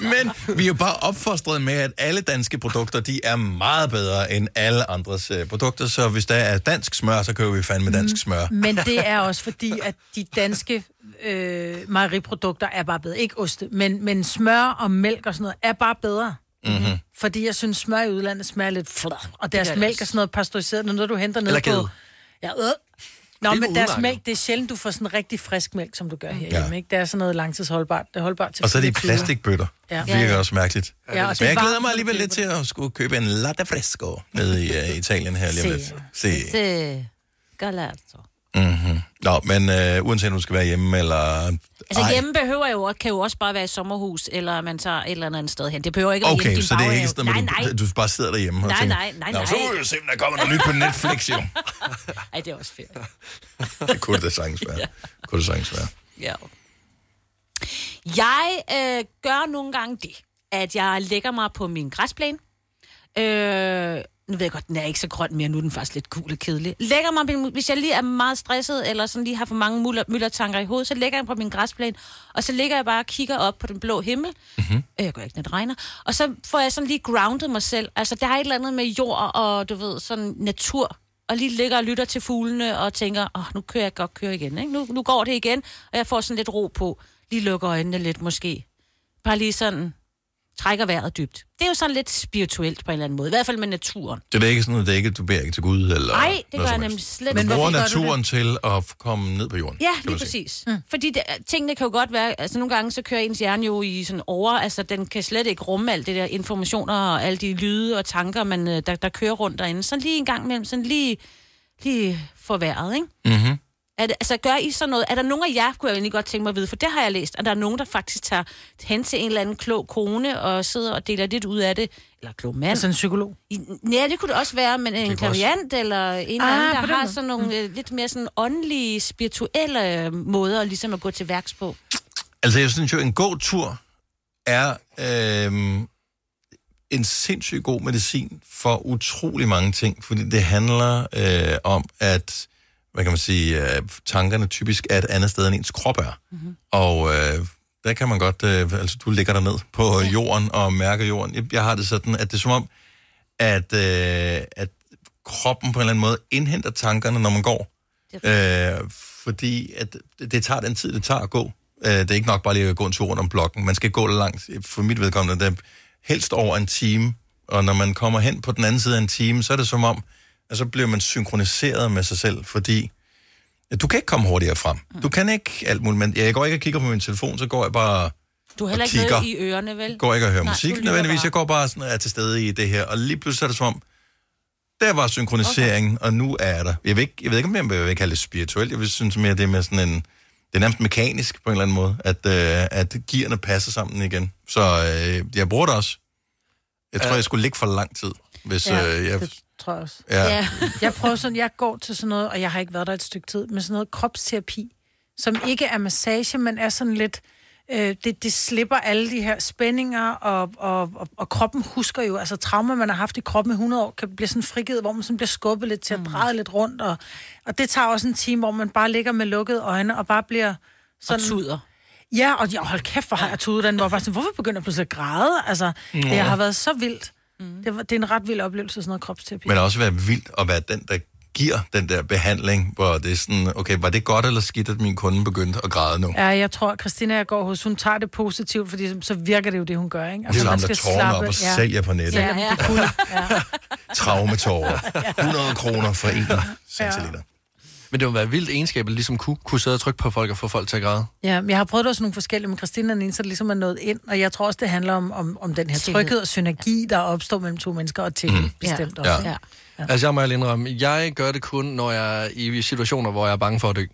Speaker 1: Men vi er jo bare opfostret med, at alle danske produkter, de er meget bedre end alle andres øh, produkter, så hvis der er dansk smør, så køber vi fandme dansk smør.
Speaker 2: Men det er også fordi, at de danske øh, mejeriprodukter er bare bedre. Ikke oste, men, men smør og mælk og sådan noget er bare bedre.
Speaker 1: Mm-hmm.
Speaker 2: Fordi jeg synes, smør i udlandet smager lidt flad, og deres
Speaker 21: gør det
Speaker 2: mælk
Speaker 21: også.
Speaker 2: er sådan noget pasteuriseret, når du henter
Speaker 1: Eller
Speaker 2: ned
Speaker 1: ged.
Speaker 2: på... Ja, øh. Nå,
Speaker 21: Det er
Speaker 2: men deres
Speaker 21: udmærket.
Speaker 2: mælk, det er sjældent, du får sådan rigtig frisk mælk, som du gør herhjemme, ja. ikke? Det er sådan noget langtidsholdbart. Det er holdbart til
Speaker 1: Og så er det i
Speaker 2: flere timer.
Speaker 1: plastikbøtter.
Speaker 2: Ja.
Speaker 1: Ja.
Speaker 2: Ja,
Speaker 1: Virker
Speaker 2: ja.
Speaker 1: også mærkeligt.
Speaker 2: Ja, og det er
Speaker 1: Men jeg glæder
Speaker 2: varmt,
Speaker 1: mig alligevel lidt til at skulle købe en latte fresco nede i øh, Italien her lige om lidt. Se.
Speaker 4: Se. Galazzo.
Speaker 1: Mm-hmm. Nå, men øh, uanset om du skal være hjemme eller
Speaker 4: Altså Ej. hjemme behøver jo, også- kan jo også bare være i sommerhus, eller man tager et eller andet sted hen. Det behøver ikke at være hjemme
Speaker 1: Okay,
Speaker 4: i din
Speaker 1: så det er
Speaker 4: baghave.
Speaker 1: ikke sådan, at
Speaker 4: Nej,
Speaker 1: man-
Speaker 4: nej.
Speaker 1: du bare sidder derhjemme og
Speaker 4: Nej,
Speaker 1: tænker,
Speaker 4: nej, nej,
Speaker 1: "Nå,
Speaker 4: nej."
Speaker 1: så må vi jo se, om der kommer noget nyt på Netflix, jo.
Speaker 4: Ej, det er også fedt.
Speaker 1: Det kunne det da sagtens være. Kunne det sagtens være.
Speaker 4: Ja. Jeg øh, gør nogle gange det, at jeg lægger mig på min græsplæne. Øh, nu ved jeg godt, den er ikke så grøn mere, nu er den faktisk lidt gul og kedelig. Lægger mig, på min- hvis jeg lige er meget stresset, eller sådan lige har for mange muller, myldertanker i hovedet, så lægger jeg mig på min græsplæne, og så ligger jeg bare og kigger op på den blå himmel. Mm-hmm. Øh, jeg gør ikke, når det regner. Og så får jeg sådan lige grounded mig selv. Altså, der er et eller andet med jord og, du ved, sådan natur. Og lige ligger og lytter til fuglene og tænker, åh, oh, nu kører jeg godt køre igen, ikke? Nu, nu går det igen, og jeg får sådan lidt ro på. Lige lukker øjnene lidt måske. Bare lige sådan trækker vejret dybt. Det er jo sådan lidt spirituelt på en eller anden måde. I hvert fald med naturen.
Speaker 1: Så det er ikke sådan, at det er ikke, du beder ikke til Gud eller
Speaker 4: Nej, det
Speaker 1: noget
Speaker 4: gør
Speaker 1: som
Speaker 4: jeg
Speaker 1: helst.
Speaker 4: nemlig slet
Speaker 1: Du
Speaker 4: ikke.
Speaker 1: bruger
Speaker 4: Hvorfor gør du
Speaker 1: naturen til at f- komme ned på jorden.
Speaker 4: Ja,
Speaker 1: kan
Speaker 4: lige
Speaker 1: man sige.
Speaker 4: præcis. Mm. Fordi det, tingene kan jo godt være... Altså nogle gange, så kører ens hjerne jo i sådan over... Altså den kan slet ikke rumme alt det der informationer og alle de lyde og tanker, man, øh, der, der kører rundt derinde. Så lige en gang imellem, sådan lige, lige for vejret, ikke?
Speaker 1: Mm-hmm.
Speaker 4: Er det, altså, gør I sådan noget? Er der nogen af jer, kunne jeg egentlig godt tænke mig at vide, for det har jeg læst, at der er nogen, der faktisk tager hen til en eller anden klog kone og sidder og deler lidt ud af det. Eller klog mand.
Speaker 2: Altså en psykolog.
Speaker 4: I, ja, det kunne det også være, men en
Speaker 2: Det kunne også-
Speaker 4: klaviant eller en eller
Speaker 2: Ah,
Speaker 4: anden,
Speaker 2: på
Speaker 4: der
Speaker 2: den
Speaker 4: har
Speaker 2: måde.
Speaker 4: sådan nogle øh, lidt mere sådan åndelige, spirituelle øh, måder ligesom at gå til værks på.
Speaker 1: Altså, jeg synes jo, en god tur er øhm, en sindssygt god medicin for utrolig mange ting, fordi det handler øh, om, at hvad kan man sige, øh, tankerne typisk er et andet sted, end ens krop er. Mm-hmm. Og øh, der kan man godt, øh, altså du ligger der ned på øh, jorden og mærker jorden. Jeg, jeg har det sådan, at det er som om, at, øh, at kroppen på en eller anden måde indhenter tankerne, når man går. Øh, fordi at det, det tager den tid, det tager at gå. Øh, det er ikke nok bare lige at gå en tur rundt om blokken. Man skal gå langt. For mit vedkommende, det er helst over en time. Og når man kommer hen på den anden side af en time, så er det som om, at så bliver man synkroniseret med sig selv, fordi du kan ikke komme hurtigere frem. Du kan ikke alt muligt. Men jeg går ikke og kigger på min telefon, så går jeg bare
Speaker 4: Du har heller
Speaker 1: og
Speaker 4: ikke
Speaker 1: kigger
Speaker 4: noget i ørerne, vel?
Speaker 1: går ikke og hører
Speaker 4: Nej, du
Speaker 1: musik
Speaker 4: lytter
Speaker 1: nødvendigvis.
Speaker 4: bare.
Speaker 1: Jeg går bare sådan, er til stede i det her. Og lige pludselig er det som om, der var synkroniseringen, okay. og nu er jeg der. Jeg ved, ikke, jeg ved ikke, om jeg vil kalde det spirituelt. Jeg vil synes mere, det er mere sådan en... Det er nærmest mekanisk på en eller anden måde, at, øh, at gearne passer sammen igen. Så øh, jeg bruger det også. Jeg tror, jeg skulle ligge for lang tid, hvis
Speaker 2: Ja,
Speaker 1: øh, jeg...
Speaker 2: det tror jeg også.
Speaker 1: Ja.
Speaker 2: Ja. jeg prøver sådan, jeg går til sådan noget, og jeg har ikke været der et stykke tid, men sådan noget kropsterapi, som ikke er massage, men er sådan lidt, øh, det, det slipper alle de her spændinger, og, og, og, og kroppen husker jo, altså traumer, man har haft i kroppen i 100 år, kan blive sådan frigivet, hvor man sådan bliver skubbet lidt til at dreje lidt rundt, og, og det tager også en time, hvor man bare ligger med lukkede øjne, og bare bliver sådan...
Speaker 4: tuder.
Speaker 2: Ja, og jeg, hold kæft, hvor har jeg tudet den, hvor jeg bare sådan, hvorfor begynder jeg pludselig at græde? Altså, det
Speaker 1: Nå.
Speaker 2: har været så vildt. Mm. Det, var, det er en ret vild oplevelse, sådan noget kropsterapi.
Speaker 1: Men også være vildt at være den, der giver den der behandling, hvor det er sådan, okay, var det godt eller skidt, at min kunde begyndte at græde nu?
Speaker 2: Ja, jeg tror, at Christina, jeg går hos, hun tager det positivt, fordi så virker det jo det, hun gør, ikke? Altså,
Speaker 1: Det er ham, der tårner op og sælger på nettet.
Speaker 2: Ja, ja.
Speaker 1: Traumetårer. 100 kroner for en centiliter.
Speaker 3: Men det må være vildt egenskab, at ligesom kunne, kunne sidde og trykke på folk og få folk til at græde.
Speaker 2: ja, men jeg har prøvet det også nogle forskellige, men Christina er den eneste, der ligesom er nået ind, og jeg tror også, det handler om, om, om den her
Speaker 3: Tillid.
Speaker 2: tryghed og synergi, der opstår mellem to mennesker, og til mm.
Speaker 3: Mm.
Speaker 2: bestemt
Speaker 3: Ja.
Speaker 2: også.
Speaker 3: Ja.
Speaker 2: ikke?
Speaker 3: Ja. Altså, jeg må ærligt indrømme, jeg gør det kun, når jeg er i situationer, hvor jeg er bange for at dø.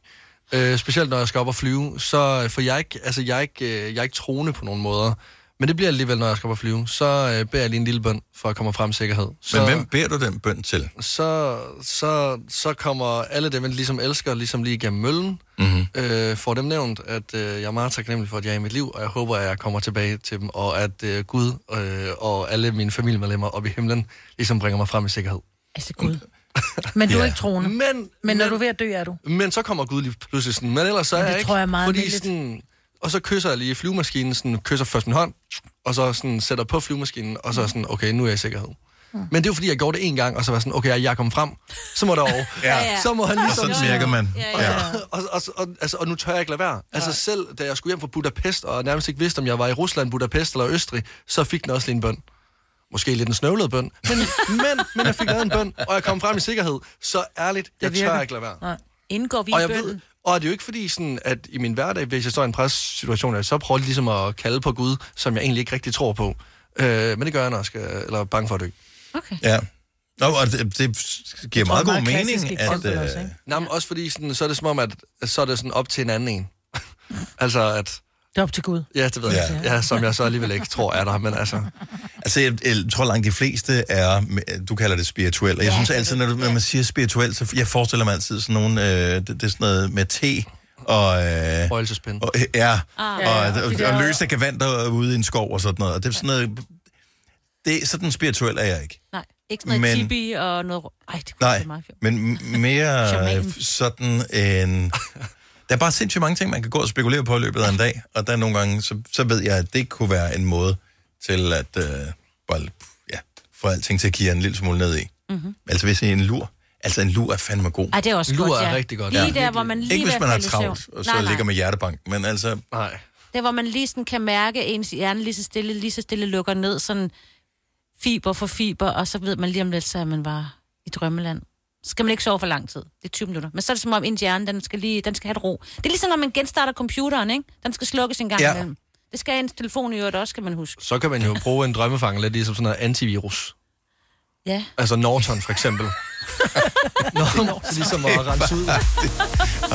Speaker 3: Øh, specielt når jeg skal op og flyve, så for jeg er ikke, altså, jeg er ikke, øh, jeg er ikke troende på nogen måder. Men det bliver alligevel, når jeg skal op og flyve. Så øh, beder jeg lige en lille bøn, for at komme frem i sikkerhed. Så,
Speaker 1: Men hvem beder du den bøn til?
Speaker 3: så, så, så kommer alle dem, man ligesom elsker, ligesom lige igennem møllen,
Speaker 1: Mm-hmm.
Speaker 3: øh, får dem nævnt, at øh, jeg er meget taknemmelig for, at jeg er i mit liv, og jeg håber, at jeg kommer tilbage til dem, og at øh, Gud øh, og alle mine familiemedlemmer oppe i himlen ligesom bringer mig frem i sikkerhed.
Speaker 4: Altså Gud.
Speaker 2: Men du er
Speaker 3: Ja.
Speaker 2: ikke troende.
Speaker 3: Men,
Speaker 2: men når du er ved at dø, er du.
Speaker 3: Men så kommer Gud lige pludselig sådan, men ellers så er
Speaker 2: Men det
Speaker 3: jeg ikke.
Speaker 2: tror jeg er meget
Speaker 3: fordi
Speaker 2: almindeligt.
Speaker 3: sådan, og så kysser jeg lige flyvemaskinen, sådan, kysser først min hånd, og så sådan, sætter på flyvemaskinen, og så er sådan, okay, nu er jeg i sikkerhed.
Speaker 1: Mm.
Speaker 3: Men det er jo fordi, jeg gjorde det en gang, og så var jeg sådan, okay, jeg er kommet frem, så må der over.
Speaker 1: Ja. Ja, ja.
Speaker 3: Så må han
Speaker 1: Og
Speaker 3: ligesom...
Speaker 1: sådan virker man. Ja, ja.
Speaker 3: Og, og, og, og, altså, og nu tør jeg ikke lade være. Altså selv, da jeg skulle hjem fra Budapest, og nærmest ikke vidste, om jeg var i Rusland, Budapest eller Østrig, så fik den også lige en bøn. Måske lidt en snøvlet bøn, men, men, men jeg fik lavet en bøn, og jeg kom frem i sikkerhed. Så ærligt, jeg tør ikke lade være.
Speaker 4: Nej. Indgår vi
Speaker 3: og
Speaker 4: i
Speaker 3: jeg ved,
Speaker 4: bønnen?
Speaker 3: og det er jo ikke fordi, sådan, at i min hverdag, hvis jeg står i en pressituation, at jeg så prøver jeg ligesom at kalde på Gud, som jeg egentlig ikke rigtig tror på. Øh, men det gør jeg, når jeg skal, eller er bange for at dø.
Speaker 1: Ja. Nå, og det, det giver meget god mening, at... øh,
Speaker 3: Nej, men også fordi, sådan, så er det som om, at så er det sådan op til en anden en. altså, at...
Speaker 2: Det er op til Gud.
Speaker 3: Ja, det ved jeg. Ja.
Speaker 1: Ja.
Speaker 3: ja, som jeg så alligevel ikke tror er der, men altså...
Speaker 1: Altså, jeg, jeg tror langt de fleste er, du kalder det spirituelt, og jeg synes altid, når, du, når man siger spirituelt, så jeg forestiller mig altid sådan nogle, øh, det, det er sådan noget med te og... Øh,
Speaker 3: Røgelsespind.
Speaker 1: Og, øh, ja,
Speaker 3: Ah.
Speaker 1: ah,
Speaker 3: Ja,
Speaker 1: og,
Speaker 3: ja, og
Speaker 1: og,
Speaker 3: de
Speaker 1: og,
Speaker 3: der-
Speaker 1: og løse kavanter ude i en skov og sådan noget, og det er sådan noget... Det, er sådan spirituel er jeg ikke.
Speaker 4: Nej, ikke sådan noget
Speaker 1: Men-
Speaker 4: tibi og noget... Ej, det kunne
Speaker 1: Nej,
Speaker 4: være meget fjort.
Speaker 1: men m- mere
Speaker 4: Shamanen.
Speaker 1: øh, sådan en... Der er bare sindssygt mange ting, man kan gå og spekulere på i løbet af en dag, og der er nogle gange, så, så ved jeg, at det kunne være en måde til at øh, bare, ja, få alting til at kigge en lille smule ned i.
Speaker 4: Mhm.
Speaker 1: Altså hvis det er en lur. Altså en lur er fandme god.
Speaker 4: Ej, det er også
Speaker 1: lur
Speaker 4: godt,
Speaker 1: er
Speaker 4: ja.
Speaker 1: rigtig godt.
Speaker 4: Lige der, hvor man lige
Speaker 1: Ikke
Speaker 4: ved
Speaker 1: hvis
Speaker 4: at
Speaker 1: man har
Speaker 4: falde i søvn.
Speaker 1: travlt, og så
Speaker 4: Nej, nej.
Speaker 1: ligger med hjertebank, men altså...
Speaker 3: Nej.
Speaker 4: Det er, hvor man lige sådan kan mærke, at ens hjerne lige så stille, lige så stille lukker ned, sådan fiber for fiber, og så ved man lige om lidt, så er man bare i drømmeland. Så skal man ikke sove for lang tid. Det er 20 minutter. Men så er det som om, ens hjerne, den skal, lige, den skal have et ro. Det er ligesom, når man genstarter computeren, ikke? Den skal slukkes en gang
Speaker 3: Ja.
Speaker 4: ja. imellem. Det skal ens telefon i øvrigt også, skal man huske.
Speaker 3: Så kan man jo bruge en drømmefanger lidt ligesom sådan noget antivirus.
Speaker 4: Ja.
Speaker 3: Altså Norton, for eksempel. Nå, ligesom at rense ud.
Speaker 1: Nej,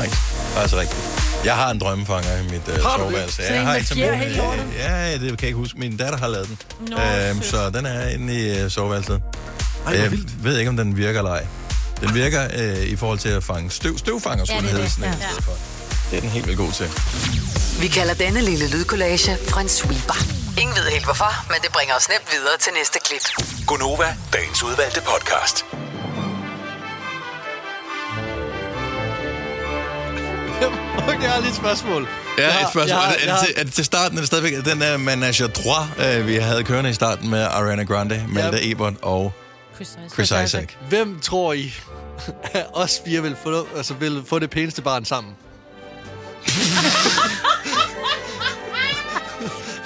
Speaker 1: det er altså rigtigt. Jeg har en drømmefanger i mit
Speaker 3: Har du
Speaker 1: øh,
Speaker 3: det?
Speaker 1: soveværelse.
Speaker 3: Sådan en
Speaker 1: har
Speaker 3: med
Speaker 1: en til
Speaker 3: fjer
Speaker 1: min,
Speaker 3: helt
Speaker 1: øh,
Speaker 3: lortet?
Speaker 1: Ja, det kan jeg ikke huske. Min datter har lavet den.
Speaker 3: Nå,
Speaker 1: øhm, så den er inde i øh, soveværelset.
Speaker 3: Ej, hvor
Speaker 1: jeg ved ikke, om den virker eller ej. Den virker øh, i forhold til at fange støv. Støvfanger, skulle ja, det, hedde sådan en. Ja. Det er den helt vildt god til.
Speaker 5: Vi kalder denne lille lydkollage Frans sweeper. Ingen ved helt hvorfor, men det bringer os nemt videre til næste klip.
Speaker 6: Gunova, dagens udvalgte podcast.
Speaker 3: Okay, jeg har lige et spørgsmål.
Speaker 1: Ja,
Speaker 3: Jeg har-
Speaker 1: et spørgsmål.
Speaker 3: jeg
Speaker 1: Er
Speaker 3: har-
Speaker 1: det- er,
Speaker 3: jeg
Speaker 1: det til, er det til starten, er det stadigvæk den der Manager 3, øh, vi havde kørende i starten med Ariana Grande, Malta Ebert og Chris Isaac?
Speaker 3: Hvem tror I, at os fire vil få, altså vil få det pæneste barn sammen?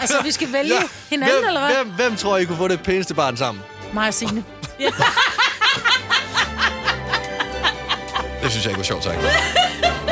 Speaker 2: Altså, vi skal vælge ja. hinanden,
Speaker 3: hvem,
Speaker 2: eller hvad?
Speaker 3: Hvem, hvem tror I kunne få det pæneste barn sammen?
Speaker 2: Mig og Signe.
Speaker 1: Det synes jeg ikke var sjovt, tak.